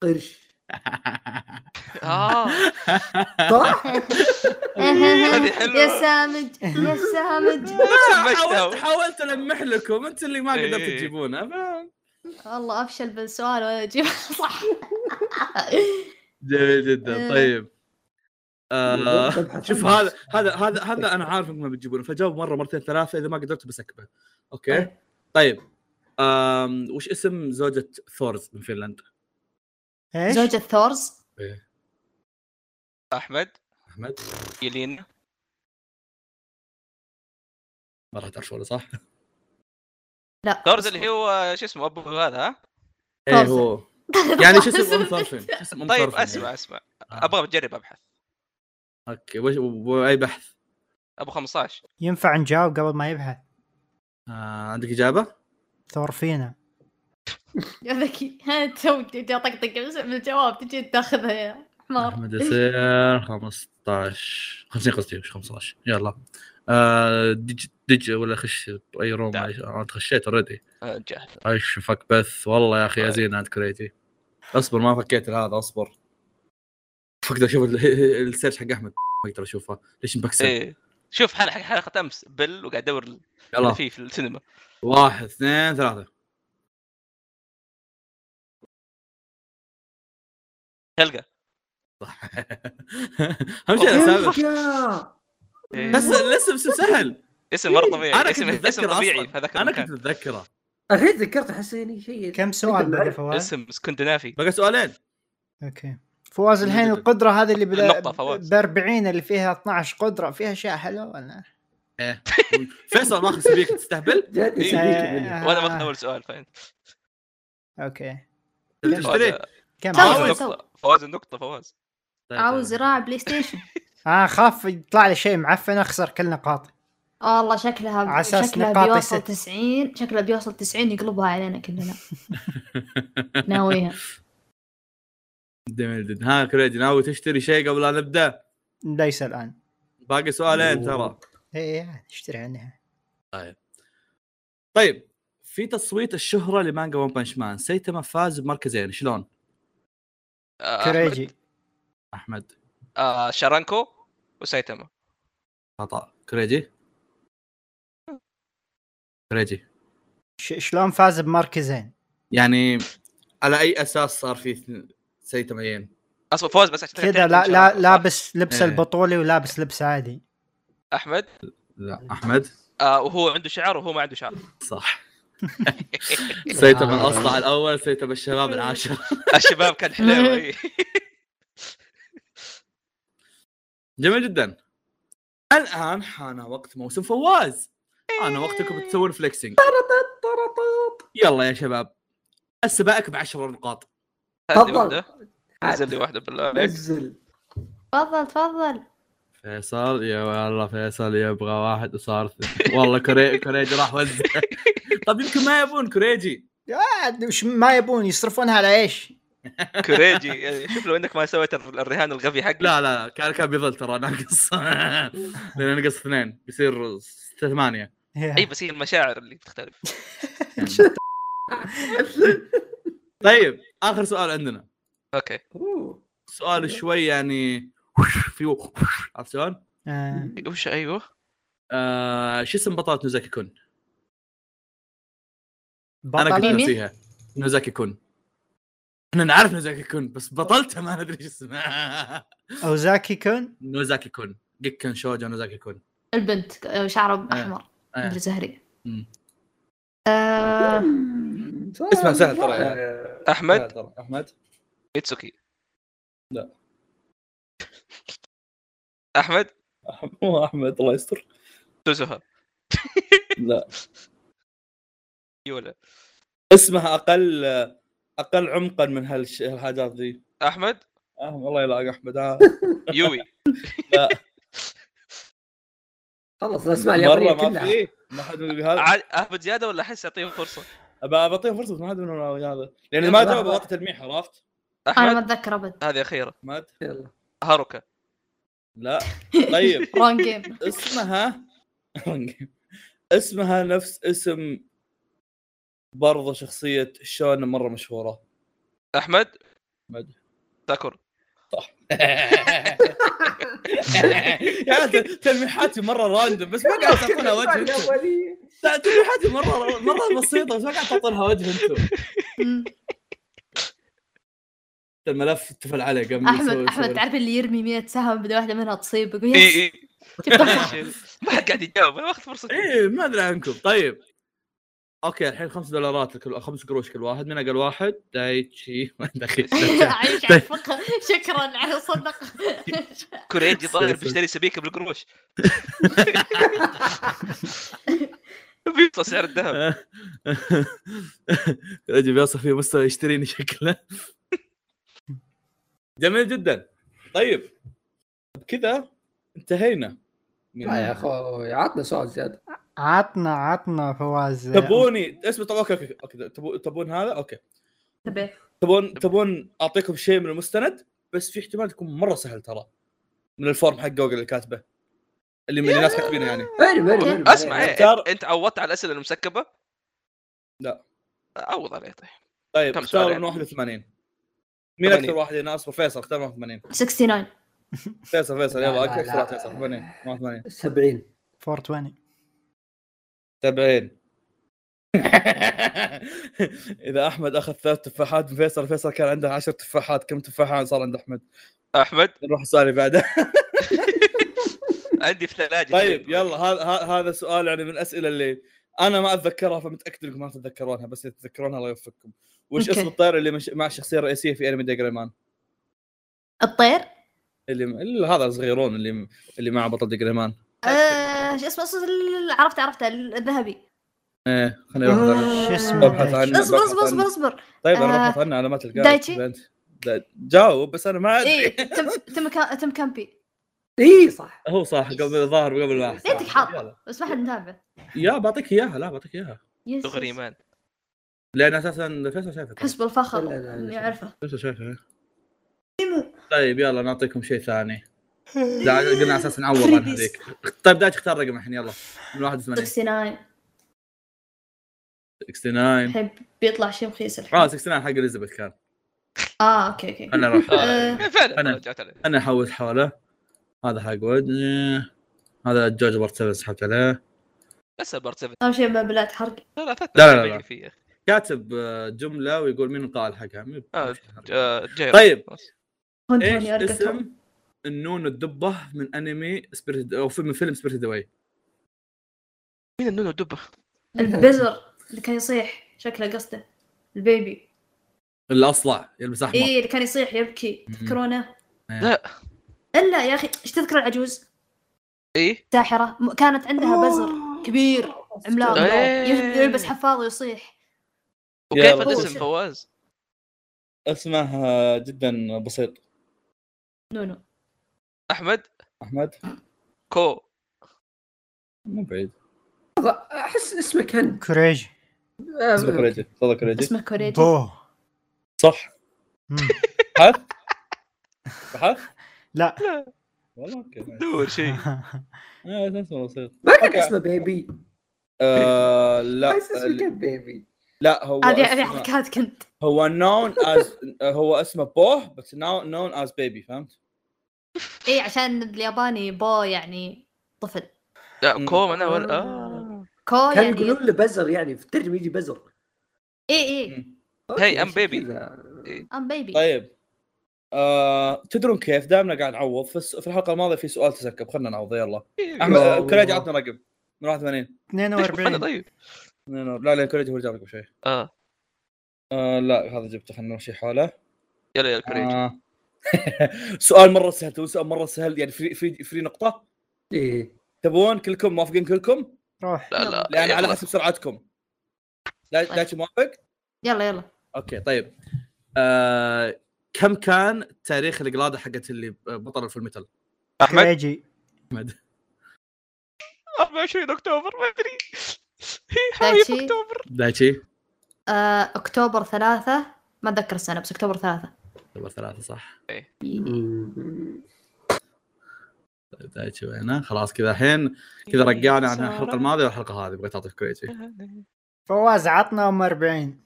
Speaker 5: قرش
Speaker 3: اه
Speaker 5: صح؟
Speaker 3: هذه حلوة.
Speaker 4: يا سامج يا سامج
Speaker 1: حاولت حاولت المح لكم انت اللي ما
Speaker 3: إيه.
Speaker 1: قدرت تجيبونه ف-
Speaker 4: والله افشل بالسؤال ولا اجيب صح
Speaker 1: جميل جدا
Speaker 4: إيه.
Speaker 1: طيب آه،
Speaker 5: تبحث
Speaker 1: شوف
Speaker 5: عنه.
Speaker 1: هذا هذا هذا هذا انا عارف انكم ما بتجيبونه فجاوب مره مرتين ثلاثه اذا ما قدرت بسكبه اوكي
Speaker 4: طيب.
Speaker 1: طيب آم، وش اسم زوجة ثورز من فنلند؟
Speaker 2: ايش؟
Speaker 4: زوجة ثورز
Speaker 3: احمد
Speaker 1: احمد
Speaker 3: يلين
Speaker 1: ما راح تعرفونه صح؟
Speaker 4: لا
Speaker 3: ثورز اللي هو شو اسمه ابو هذا ها
Speaker 1: ايه
Speaker 4: ثورز.
Speaker 1: هو يعني شو اسم ام ثورفن؟ شو اسم ام
Speaker 3: طيب
Speaker 1: ثورفن؟
Speaker 3: اسمع اسمع
Speaker 1: آه.
Speaker 3: ابغى بجرب ابحث
Speaker 1: اوكي وش واي بحث؟
Speaker 3: ابو 15
Speaker 2: ينفع نجاوب قبل ما يبحث
Speaker 1: آه، عندك اجابه؟
Speaker 2: ثورفينا
Speaker 4: يا ذكي ها تو تجي اطقطق بس بالجواب تجي تاخذها يا حمار
Speaker 1: احمد يصير 15 50 قصدي مش 15 يلا آه، دج دج ولا خش اي روم
Speaker 3: دع.
Speaker 1: عايش- انا خشيت اوريدي
Speaker 3: آه، جاهل
Speaker 1: عيش فك بث والله يا اخي يا زين انت كريتي اصبر ما فكيت هذا اصبر فقدر اشوف ال- السيرش حق احمد ما اقدر اشوفه ليش مبكسل
Speaker 3: ايه شوف حلقه حلقه- حلقه امس بل وقاعد ادور اللي
Speaker 1: يلا
Speaker 3: فيه في السينما
Speaker 1: واحد اثنين ثلاثة
Speaker 3: حلقه
Speaker 1: صح اهم شيء الاسامي
Speaker 5: يا.
Speaker 3: إيه.
Speaker 1: بس الاسم اسم سهل
Speaker 3: اسم مره طبيعي
Speaker 1: انا كنت متذكره
Speaker 3: اسم اسم طبيعي في
Speaker 1: اصلا
Speaker 3: هذاك
Speaker 1: انا
Speaker 3: المكان
Speaker 1: كنت متذكره
Speaker 5: الحين تذكرت احس اني شيء
Speaker 2: كم سؤال بعد فواز؟
Speaker 3: اسم اسكندنافي
Speaker 1: بقى سؤالين
Speaker 2: اوكي فواز الحين القدرة هذه اللي
Speaker 3: النقطة فواز.
Speaker 2: ب 40 اللي فيها 12 قدرة فيها اشياء حلوة ولا؟
Speaker 1: فيصل ماخذ سبيك تستهبل
Speaker 5: جد
Speaker 3: إيه.
Speaker 5: صديقي
Speaker 3: وانا باخذ اول سؤال فاهم
Speaker 2: اوكي
Speaker 1: تشتري
Speaker 2: كم آه،
Speaker 4: فواز.
Speaker 3: فواز النقطة، فواز النقطه فواز
Speaker 4: عاوز زراعة بلاي ستيشن
Speaker 2: اه خاف يطلع لي شيء معفن اخسر كل نقاطي
Speaker 4: والله شكلها
Speaker 2: على أساس
Speaker 4: شكلها
Speaker 2: نقاطي
Speaker 4: بيوصل
Speaker 2: ست.
Speaker 4: 90 شكلها بيوصل 90 يقلبها علينا كلنا ناويها
Speaker 1: جميل جدا ها كريدي ناوي تشتري شيء قبل لا نبدا
Speaker 2: ليس الان
Speaker 1: باقي سؤالين ترى
Speaker 2: اي إيه، اشتري عنها
Speaker 1: طيب في تصويت الشهرة لمانجا ون بانش مان سيتما فاز بمركزين شلون
Speaker 3: آه،
Speaker 2: كريجي
Speaker 1: احمد
Speaker 3: آه، شارانكو وسايتاما
Speaker 1: خطا كريجي كريجي
Speaker 2: ش- شلون فاز بمركزين؟
Speaker 1: يعني على اي اساس صار في اثنين- سيتمين
Speaker 3: اصلا فوز بس عشان
Speaker 2: كذا لا لا
Speaker 3: شارانكو، صح؟
Speaker 2: لابس لبس
Speaker 1: إيه.
Speaker 2: البطولي ولابس لبس عادي
Speaker 3: احمد
Speaker 1: لا احمد
Speaker 3: آه، وهو عنده شعر وهو ما عنده شعر
Speaker 1: صح سيتما الاصلع الاول سيتما الشباب العاشر
Speaker 3: الشباب كان حلو إيه.
Speaker 1: جميل جدا الان حان وقت موسم فواز حان وقتكم تسوون فليكسينج يلا يا شباب السبائك بعشر نقاط
Speaker 3: هذه
Speaker 5: تفضل.
Speaker 3: واحده نزل لي واحده بالله عليك
Speaker 5: نزل
Speaker 4: تفضل تفضل
Speaker 1: فيصل يا والله فيصل يبغى واحد وصار اثنين. والله كري... كريجي راح وزع طب طيب، يمكن ما يبون كريجي
Speaker 2: عاد وش ما يبون يصرفونها على ايش؟
Speaker 3: كريجي يعني شوف لو انك ما سويت الر- الرهان الغبي حقك
Speaker 1: لا لا لا، كان كان بيظل ترى ناقص لانه نقص اثنين بيصير ستة ثمانية
Speaker 2: إيه. طيب.
Speaker 3: اي بس هي المشاعر اللي بتختلف
Speaker 1: طيب اخر سؤال عندنا
Speaker 3: اوكي
Speaker 5: أوه.
Speaker 1: سؤال شوي يعني في عرفت شلون؟
Speaker 2: آه.
Speaker 3: وش ايوه
Speaker 1: آه، شو اسم بطلة نوزاكي كون؟ انا كنت
Speaker 2: بطل
Speaker 4: مين؟
Speaker 1: نسيها نوزاكي كون احنا نعرف نوزاكي كون بس بطلتها ما ندري شو اسمها
Speaker 2: اوزاكي كون
Speaker 1: نوزاكي كون جيكن شوجو نوزاكي كون
Speaker 2: آه.
Speaker 4: البنت شعرها احمر
Speaker 1: إيه.
Speaker 4: مدري زهري آه،
Speaker 1: اسمع سهل ترى يعني
Speaker 5: آه،
Speaker 1: سهل
Speaker 3: احمد
Speaker 1: ترى. احمد
Speaker 3: ميتسوكي
Speaker 1: لا.
Speaker 3: احمد
Speaker 1: أح- مو احمد الله يستر
Speaker 3: سوزوها
Speaker 1: لا
Speaker 3: اي ولا
Speaker 1: اسمها اقل اقل عمقا من هالش- هالحاجات ذي
Speaker 3: احمد
Speaker 1: احمد الله يلاقي احمد آه.
Speaker 3: يوي
Speaker 5: خلص الاسماء
Speaker 1: مره
Speaker 5: اليابانيه
Speaker 1: ما
Speaker 5: كلها
Speaker 1: في إيه، ما حد من هذا
Speaker 3: عاد اهبط زياده ولا احس اعطيه فرصه
Speaker 1: ابى بعطيه فرصه بس ما حد من هذا لان ما جاوب بعطي تلميح عرفت
Speaker 4: انا ما
Speaker 3: احمد
Speaker 4: اتذكر ابد
Speaker 3: هذه اخيره
Speaker 1: مات
Speaker 5: يلا
Speaker 3: هاروكا
Speaker 1: لا طيب
Speaker 4: رون جيم
Speaker 1: اسمها اسمها نفس اسم برضه شخصية شون مرة مشهورة
Speaker 3: احمد
Speaker 1: أحمد.
Speaker 3: ساكور
Speaker 1: يا ت- تلميحاتي مرة راندوم بس ما قاعد تعطونها وجه انتم لا، تلميحاتي مرة مرة بسيطة بس ما قاعد تعطونها وجه انتم
Speaker 4: مم.
Speaker 1: الملف تفل عليه قبل
Speaker 4: احمد
Speaker 1: يسوي-
Speaker 4: احمد
Speaker 1: يسوي-
Speaker 4: تعرف اللي يرمي 100 سهم بدل واحده منها تصيب يقول
Speaker 3: اي
Speaker 4: يس
Speaker 3: اي
Speaker 4: تفتح.
Speaker 3: ما حد قاعد يجاوب انا واخذ فرصتي
Speaker 1: ايه ما ادري عنكم طيب اوكي الحين خمس دولارات لكل خمس قروش كل واحد من اقل واحد دايتشي ما دخل
Speaker 5: طيب،
Speaker 4: عايش على الفقه شكرا على صدق
Speaker 3: كوريجي ظاهر
Speaker 1: سلسل.
Speaker 3: بيشتري سبيكه بالقروش بيطلع سعر الذهب
Speaker 1: رجل بيوصف في مستوى يشتريني شكله جميل جدا طيب بكذا انتهينا يعني من-
Speaker 5: لا آه يا اخوي عطنا سؤال زياده
Speaker 2: عطنا عطنا فواز
Speaker 1: تبوني اسمه طب اوكي اوكي, أوكي. تبو- تبون هذا اوكي
Speaker 4: انتبه.
Speaker 1: تبون تبون اعطيكم شيء من المستند بس في احتمال تكون مره سهل ترى من الفورم حق جوجل اللي كاتبه اللي من الناس كاتبينه يعني
Speaker 5: أعلم، أعلم، أعلم.
Speaker 3: اسمع إيه،
Speaker 1: اختار-
Speaker 3: انت عوضت على الاسئله المسكبه
Speaker 1: لا.
Speaker 3: عوض عليه طيب
Speaker 1: طيب
Speaker 3: كم
Speaker 1: اختاروا
Speaker 3: سؤال
Speaker 1: من 81 مين اكثر
Speaker 3: 80.
Speaker 1: واحد يناسبه فيصل اختار من 81
Speaker 4: 69
Speaker 1: فيصل فيصل
Speaker 5: لا،
Speaker 1: يلا
Speaker 5: لا،
Speaker 1: اكثر واحد
Speaker 5: لا.
Speaker 1: فيصل 80 81
Speaker 5: 70
Speaker 2: 420
Speaker 1: 70 اذا احمد اخذ ثلاث تفاحات من فيصل فيصل كان عنده 10 تفاحات كم تفاحه صار عند احمد
Speaker 3: احمد
Speaker 1: نروح السؤال اللي بعده
Speaker 3: عندي في ثلاجه
Speaker 1: طيب يلا هذا ه- هذا سؤال يعني من الاسئله اللي انا ما اتذكرها فمتاكد انكم ما تتذكرونها بس اذا تتذكرونها الله يوفقكم وش
Speaker 4: أوكي.
Speaker 1: اسم الطير اللي مش مع الشخصيه الرئيسيه في انمي ديجريمان
Speaker 4: الطير
Speaker 1: اللي اللي هذا الصغيرون اللي اللي مع بطل ديجريمان
Speaker 4: آه، شو اسمه اسمه ال- عرفته عرفته الذهبي
Speaker 1: ايه خليني اروح أدور.
Speaker 2: شو
Speaker 1: ابحث
Speaker 2: اسمه
Speaker 1: عنه
Speaker 4: اصبر
Speaker 1: ببحث
Speaker 4: اصبر اصبر
Speaker 1: عنه.
Speaker 4: اصبر
Speaker 1: طيب انا
Speaker 4: آه،
Speaker 1: ببحث عنه علامات القلب
Speaker 4: دايتشي؟
Speaker 1: جاوب بس انا ما ادري
Speaker 4: اي إيه، تم تم كا- تم كامبي
Speaker 5: اي إيه، صح
Speaker 1: هو صح قبل ظاهر قبل ما أحسب.
Speaker 4: ليتك حاطه.
Speaker 1: يلا.
Speaker 4: بس ما حد متابع
Speaker 1: يا بعطيك اياها لا بعطيك اياها
Speaker 4: يس يس.
Speaker 3: غريمان
Speaker 1: لان اساسا فيصل شايفه ترى.
Speaker 4: حسب الفخر
Speaker 5: لا، لا، لا.
Speaker 4: اللي يعرفه
Speaker 1: فيصل شايفه طيب يلا نعطيكم شيء ثاني لا قلنا على اساس نعوض عن
Speaker 4: Freebies.
Speaker 1: هذيك طيب دايتش اختار رقم الحين يلا من 81
Speaker 4: 69
Speaker 1: 69
Speaker 4: الحين بيطلع شيء مخيس الحين
Speaker 1: اه 69 حق اليزابيث كان
Speaker 4: اه اوكي اوكي
Speaker 1: انا اروح
Speaker 4: آه،
Speaker 3: فعلا
Speaker 1: أنا.
Speaker 3: رجعت عليه
Speaker 1: انا احوس حوله هذا حق ودني هذا جورج بارت 7 سحبت عليه
Speaker 3: بس بارت 7
Speaker 4: اهم شيء مبلات حرق
Speaker 3: ثلاثة
Speaker 1: لا، لا، لا.
Speaker 3: باقي فيه يا أخي.
Speaker 1: كاتب آه، جمله ويقول مين القائل حقها مين-
Speaker 3: آه، آه، جير.
Speaker 1: طيب
Speaker 4: هون
Speaker 1: ايش
Speaker 4: هوني ارقى
Speaker 1: اسم النون الدبه من انمي سبيريت او في- من فيلم سبيريت اواي
Speaker 3: مين النونو دبه؟
Speaker 4: البزر اللي كان يصيح شكله قصده البيبي
Speaker 1: الاصلع يلبس احمر
Speaker 4: اي اللي كان يصيح يبكي
Speaker 1: مم.
Speaker 4: تذكرونه
Speaker 3: لا
Speaker 4: الا يا اخي ايش تذكر العجوز
Speaker 3: اي
Speaker 4: ساحره م- كانت عندها بزر كبير عملاق
Speaker 3: إيه.
Speaker 4: يه- يلبس حفاضه ويصيح
Speaker 1: يا
Speaker 3: وكيف
Speaker 1: رب.
Speaker 3: الاسم فواز؟
Speaker 1: اسمه جدا بسيط
Speaker 4: نونو
Speaker 3: احمد
Speaker 1: احمد
Speaker 3: كو
Speaker 1: مو بعيد
Speaker 5: احس اسمه كان آه،
Speaker 2: كوريجي
Speaker 1: صدق ريجي صدق ريجي
Speaker 4: اسمه كوريجي
Speaker 2: بو
Speaker 1: صح
Speaker 2: مم.
Speaker 1: بحث بحث
Speaker 2: لا
Speaker 1: والله اوكي نايس.
Speaker 3: دور شيء
Speaker 1: آه، اسمه بسيط
Speaker 5: ما كان
Speaker 1: أوكي.
Speaker 5: اسمه بيبي
Speaker 1: آه، لا
Speaker 5: احس اسمه كان بيبي
Speaker 1: لا هو
Speaker 4: هذه
Speaker 1: اسمه-
Speaker 4: هذه حركات كنت
Speaker 1: هو نون از هو اسمه بوه بس نون از بيبي فهمت؟
Speaker 4: اي إيه، عشان بالياباني بو يعني طفل
Speaker 1: مم.
Speaker 3: لا كو انا ولا آه.
Speaker 4: كو
Speaker 5: كانوا
Speaker 4: يعني إيه،
Speaker 5: يقولون له بزر يعني في الترجمه يجي بزر
Speaker 4: اي اي
Speaker 5: أوكي،
Speaker 3: هي، I'm
Speaker 5: عشان
Speaker 3: baby.
Speaker 5: كذا.
Speaker 4: ام بيبي
Speaker 1: طيب آه، تدرون كيف دائما قاعد نعوض في الس- في الحلقه الماضيه في سؤال تسكب خلينا نعوض يلا احمد
Speaker 5: والله.
Speaker 1: كريج عطنا رقم من 81
Speaker 3: ليش مو خلنا
Speaker 2: 42
Speaker 3: طيب
Speaker 1: لا لا كوريجي برجع لكم شوي
Speaker 3: اه
Speaker 1: آه لا هذا جبته خلينا نمشي حوله
Speaker 3: يلا يا كوريجي
Speaker 1: آه. سؤال مره سهل تو سؤال مره سهل يعني في في في نقطه
Speaker 5: ايه
Speaker 1: تبون كلكم موافقين كلكم
Speaker 2: روح
Speaker 3: لا لا
Speaker 1: لان
Speaker 3: يا
Speaker 1: على
Speaker 3: الله.
Speaker 1: حسب سرعتكم لا
Speaker 4: طيب.
Speaker 1: دايتشي موافق
Speaker 4: يلا يلا
Speaker 1: اوكي طيب آه كم كان تاريخ القلاده حقت اللي بطل الفول ميتال
Speaker 3: احمد
Speaker 2: كريجي
Speaker 3: 24 اكتوبر ما ادري
Speaker 4: دايتشي.
Speaker 3: حبيب اكتوبر
Speaker 1: دايتشي
Speaker 4: آه، اكتوبر ثلاثة ما اتذكر السنة بس اكتوبر ثلاثة
Speaker 1: اكتوبر ثلاثه صح
Speaker 5: مم.
Speaker 1: طيب دايتشي وهنا خلاص كذا الحين كذا رجعنا عن الحلقه الماضيه والحلقه هذه بغيت اعطيك كريتي
Speaker 2: فواز عطنا ام 40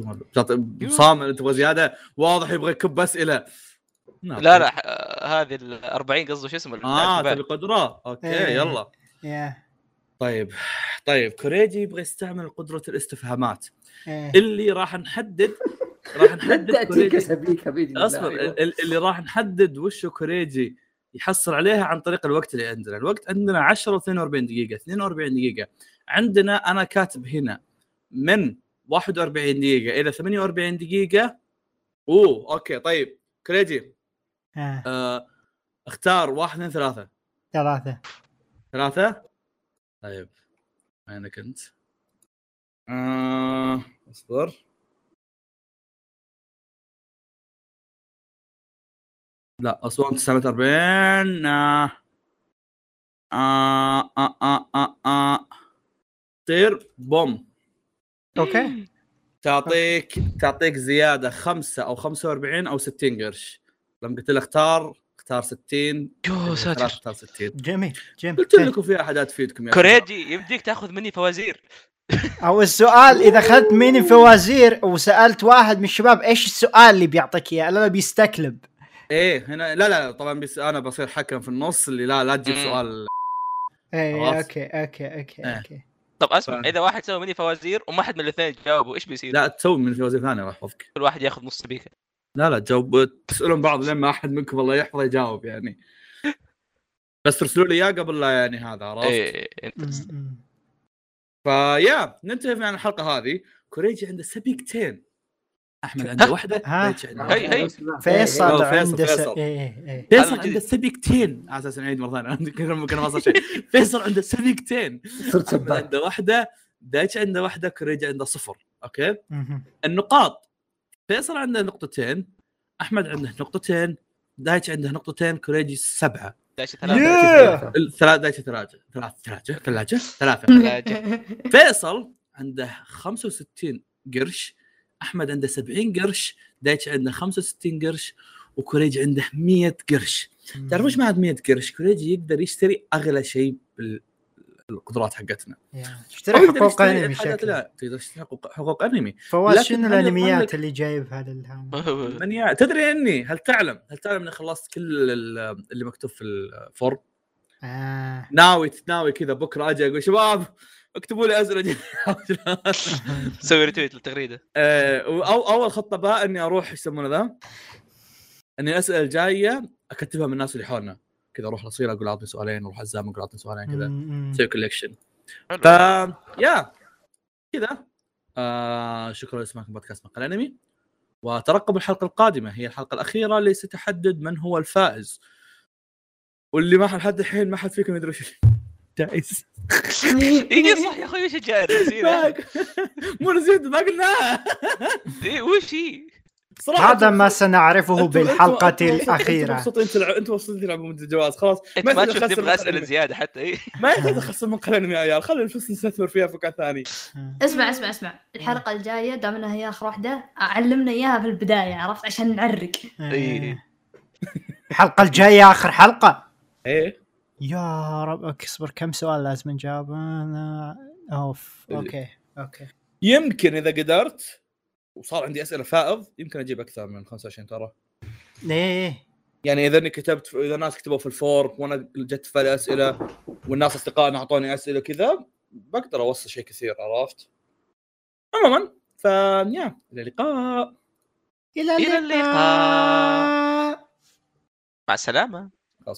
Speaker 1: بتعطي- صام انت تبغى زياده واضح يبغى يكب اسئله
Speaker 3: لا لا آه، هذه ال 40 قصده شو اسمه
Speaker 1: اه
Speaker 3: العشبان.
Speaker 1: تبي قدره اوكي
Speaker 2: إيه.
Speaker 1: يلا
Speaker 2: يا
Speaker 1: طيب طيب كوريجي يبغى يستعمل قدره الاستفهامات
Speaker 2: إيه.
Speaker 1: اللي راح نحدد راح نحدد
Speaker 5: تاتيك
Speaker 1: كوريجي
Speaker 5: اسابيك باذن الله
Speaker 1: اصبر
Speaker 5: أيوة.
Speaker 1: ال- ال- اللي راح نحدد وش كوريجي يحصل عليها عن طريق الوقت اللي عندنا، الوقت عندنا 10 و42 دقيقة، 42 دقيقة، عندنا انا كاتب هنا من 41 دقيقة إلى 48 دقيقة اوه اوكي طيب كوريجي
Speaker 2: ها،
Speaker 1: آه، اختار واحد اثنين ثلاثة،
Speaker 2: ثلاثة
Speaker 1: ثلاثة؟ طيب أين كنت؟ آه، اصبر لا أسوان 49 آه آه آه آه آه آه طير بوم
Speaker 2: اوكي
Speaker 1: تعطيك تعطيك زيادة خمسة أو 45 أو 60 قرش لما قلت له اختار اختار 60
Speaker 3: يو
Speaker 1: اختار
Speaker 3: ساتر
Speaker 1: اختار 60
Speaker 2: جميل جميل
Speaker 1: قلت لكم فيها حاجات تفيدكم يا شباب.
Speaker 3: كوريجي يمديك تاخذ مني فوازير
Speaker 2: او السؤال اذا اخذت مني فوازير وسالت واحد من الشباب ايش السؤال اللي بيعطيك اياه لا بيستكلب
Speaker 1: ايه هنا لا لا طبعا بس انا بصير حكم في النص اللي لا لا تجيب
Speaker 3: مم.
Speaker 1: سؤال
Speaker 2: اي
Speaker 1: خلاص.
Speaker 2: اوكي اوكي اوكي
Speaker 1: إيه.
Speaker 2: اوكي
Speaker 3: طب اسمع
Speaker 1: فاهم.
Speaker 3: اذا واحد سوى مني فوازير وما حد من الاثنين جاوبوا ايش بيصير؟
Speaker 1: لا تسوي من في وزير ثاني راح يحفظك
Speaker 3: كل واحد ياخذ نص سبيكه
Speaker 1: لا لا تجاوب تسالون بعض لما احد منكم الله يحفظه يجاوب يعني بس ترسلوا لي اياه قبل لا يعني هذا عرفت؟
Speaker 3: ايه
Speaker 2: م- م.
Speaker 1: فيا ننتهي من الحلقه هذه كوريجي عنده سبيكتين احمد عنده واحده
Speaker 2: ها؟
Speaker 1: دايتشي عنده
Speaker 3: هي-
Speaker 1: واحدة.
Speaker 3: هي.
Speaker 5: إيه،
Speaker 2: فيصل
Speaker 1: أوه، فيصل-
Speaker 2: عنده س...
Speaker 1: فيصل.
Speaker 2: إيه، إيه.
Speaker 1: فيصل
Speaker 3: أنا-
Speaker 1: عنده سبيكتين على اساس نعيد مره ثانيه كنا كنا ما صار شيء فيصل عنده سبيكتين
Speaker 5: إيه، صرت
Speaker 1: أحمد
Speaker 5: سباك
Speaker 1: عنده واحده دايتشي عنده واحده كوريجي عنده صفر اوكي؟
Speaker 2: مهم.
Speaker 1: النقاط فيصل عنده نقطتين احمد عنده نقطتين دايتش عنده نقطتين كوريجي سبعه
Speaker 3: داش
Speaker 2: يو.
Speaker 3: ثلاثه
Speaker 2: Yeah.
Speaker 1: الثلاث دايتش ثلاجه ثلاث ثلاجه ثلاجه ثلاثه
Speaker 3: ثلاجة.
Speaker 1: فيصل عنده 65 قرش احمد عنده 70 قرش دايتش عنده 65 قرش وكوريجي عنده 100 قرش تعرف وش معنى 100 قرش كوريجي يقدر يشتري اغلى شيء بالقدرات حقتنا
Speaker 2: يا.
Speaker 1: أو
Speaker 2: اشتري
Speaker 1: يقدر
Speaker 2: حقوق
Speaker 1: يشتري
Speaker 2: انمي
Speaker 1: الحاجات-
Speaker 2: شكله
Speaker 1: لا تقدر تشتري حقوق- حقوق انمي
Speaker 2: فواز
Speaker 1: لكن
Speaker 2: شنو
Speaker 1: أنا
Speaker 2: الانميات
Speaker 1: أضمن
Speaker 2: اللي جايبها للهام
Speaker 1: من يع... تدري اني هل تعلم هل تعلم اني خلصت كل ال- اللي مكتوب في الفورم
Speaker 2: آه.
Speaker 1: ناوي ناوي كذا بكره اجي اقول شباب اكتبوا لي ازرق
Speaker 3: سوي ريتويت للتغريده
Speaker 1: آه، او اول خطه بقى اني اروح إيش يسمونه ذا اني الاسئله الجايه اكتبها من الناس اللي حولنا كذا اروح لصير اقول اعطني سؤالين اروح عزام اقول اعطني سؤالين كذا
Speaker 2: م- م.
Speaker 1: اسوي كوليكشن
Speaker 3: حلو.
Speaker 1: ف يا كذا آه شكرا لسماعكم بودكاست مقال انمي وترقبوا الحلقه القادمه هي الحلقه الاخيره اللي ستحدد من هو الفائز واللي ما حد لحد الحين ما حد فيكم يدري وش جائز
Speaker 3: اي صح إيه، يا اخوي وش الجائزه يصير؟
Speaker 1: مو نسيت ما قلناها
Speaker 3: إيه، وش هي؟
Speaker 1: صراحة
Speaker 2: هذا
Speaker 1: أنتم-
Speaker 2: ما سنعرفه
Speaker 1: أنتم- أنتم-
Speaker 2: بالحلقة
Speaker 1: أنتم مبسوطين- أنتم
Speaker 2: الأخيرة
Speaker 1: مبسوطين تلعبوا أنتم مبسوطين تلعبوا مدة الجواز خلاص
Speaker 3: انت ما
Speaker 1: يصير
Speaker 3: تشوف
Speaker 1: نخسر
Speaker 3: تبغى
Speaker 1: من
Speaker 3: اسئله
Speaker 1: قلبي.
Speaker 3: زياده حتى إيه، اي
Speaker 1: ما يحتاج أخصم من قلم يا عيال خلي الفلوس نستثمر فيها في وقت ثاني
Speaker 4: اسمع اسمع اسمع الحلقة الجاية دام انها هي اخر واحدة علمنا اياها في البداية عرفت عشان نعرق
Speaker 2: آه.
Speaker 3: إيه.
Speaker 2: الحلقة الجاية آخر حلقة
Speaker 1: إيه
Speaker 2: يا رب أوكي، اصبر كم سؤال لازم نجاوب أنا أوف أوكي أوكي
Speaker 1: يمكن إذا قدرت وصار عندي أسئلة فائض يمكن أجيب أكثر من 25 ترى
Speaker 2: إيه
Speaker 1: يعني اذا اني كتبت اذا ناس كتبوا في الفورم وانا جت في بالي اسئله والناس اصدقائنا اعطوني اسئله كذا بقدر اوصل شيء كثير عرفت؟ عموما فيا الى اللقاء
Speaker 2: إلى
Speaker 3: إلى
Speaker 2: اللقاء
Speaker 3: اللقاء. مع السلامه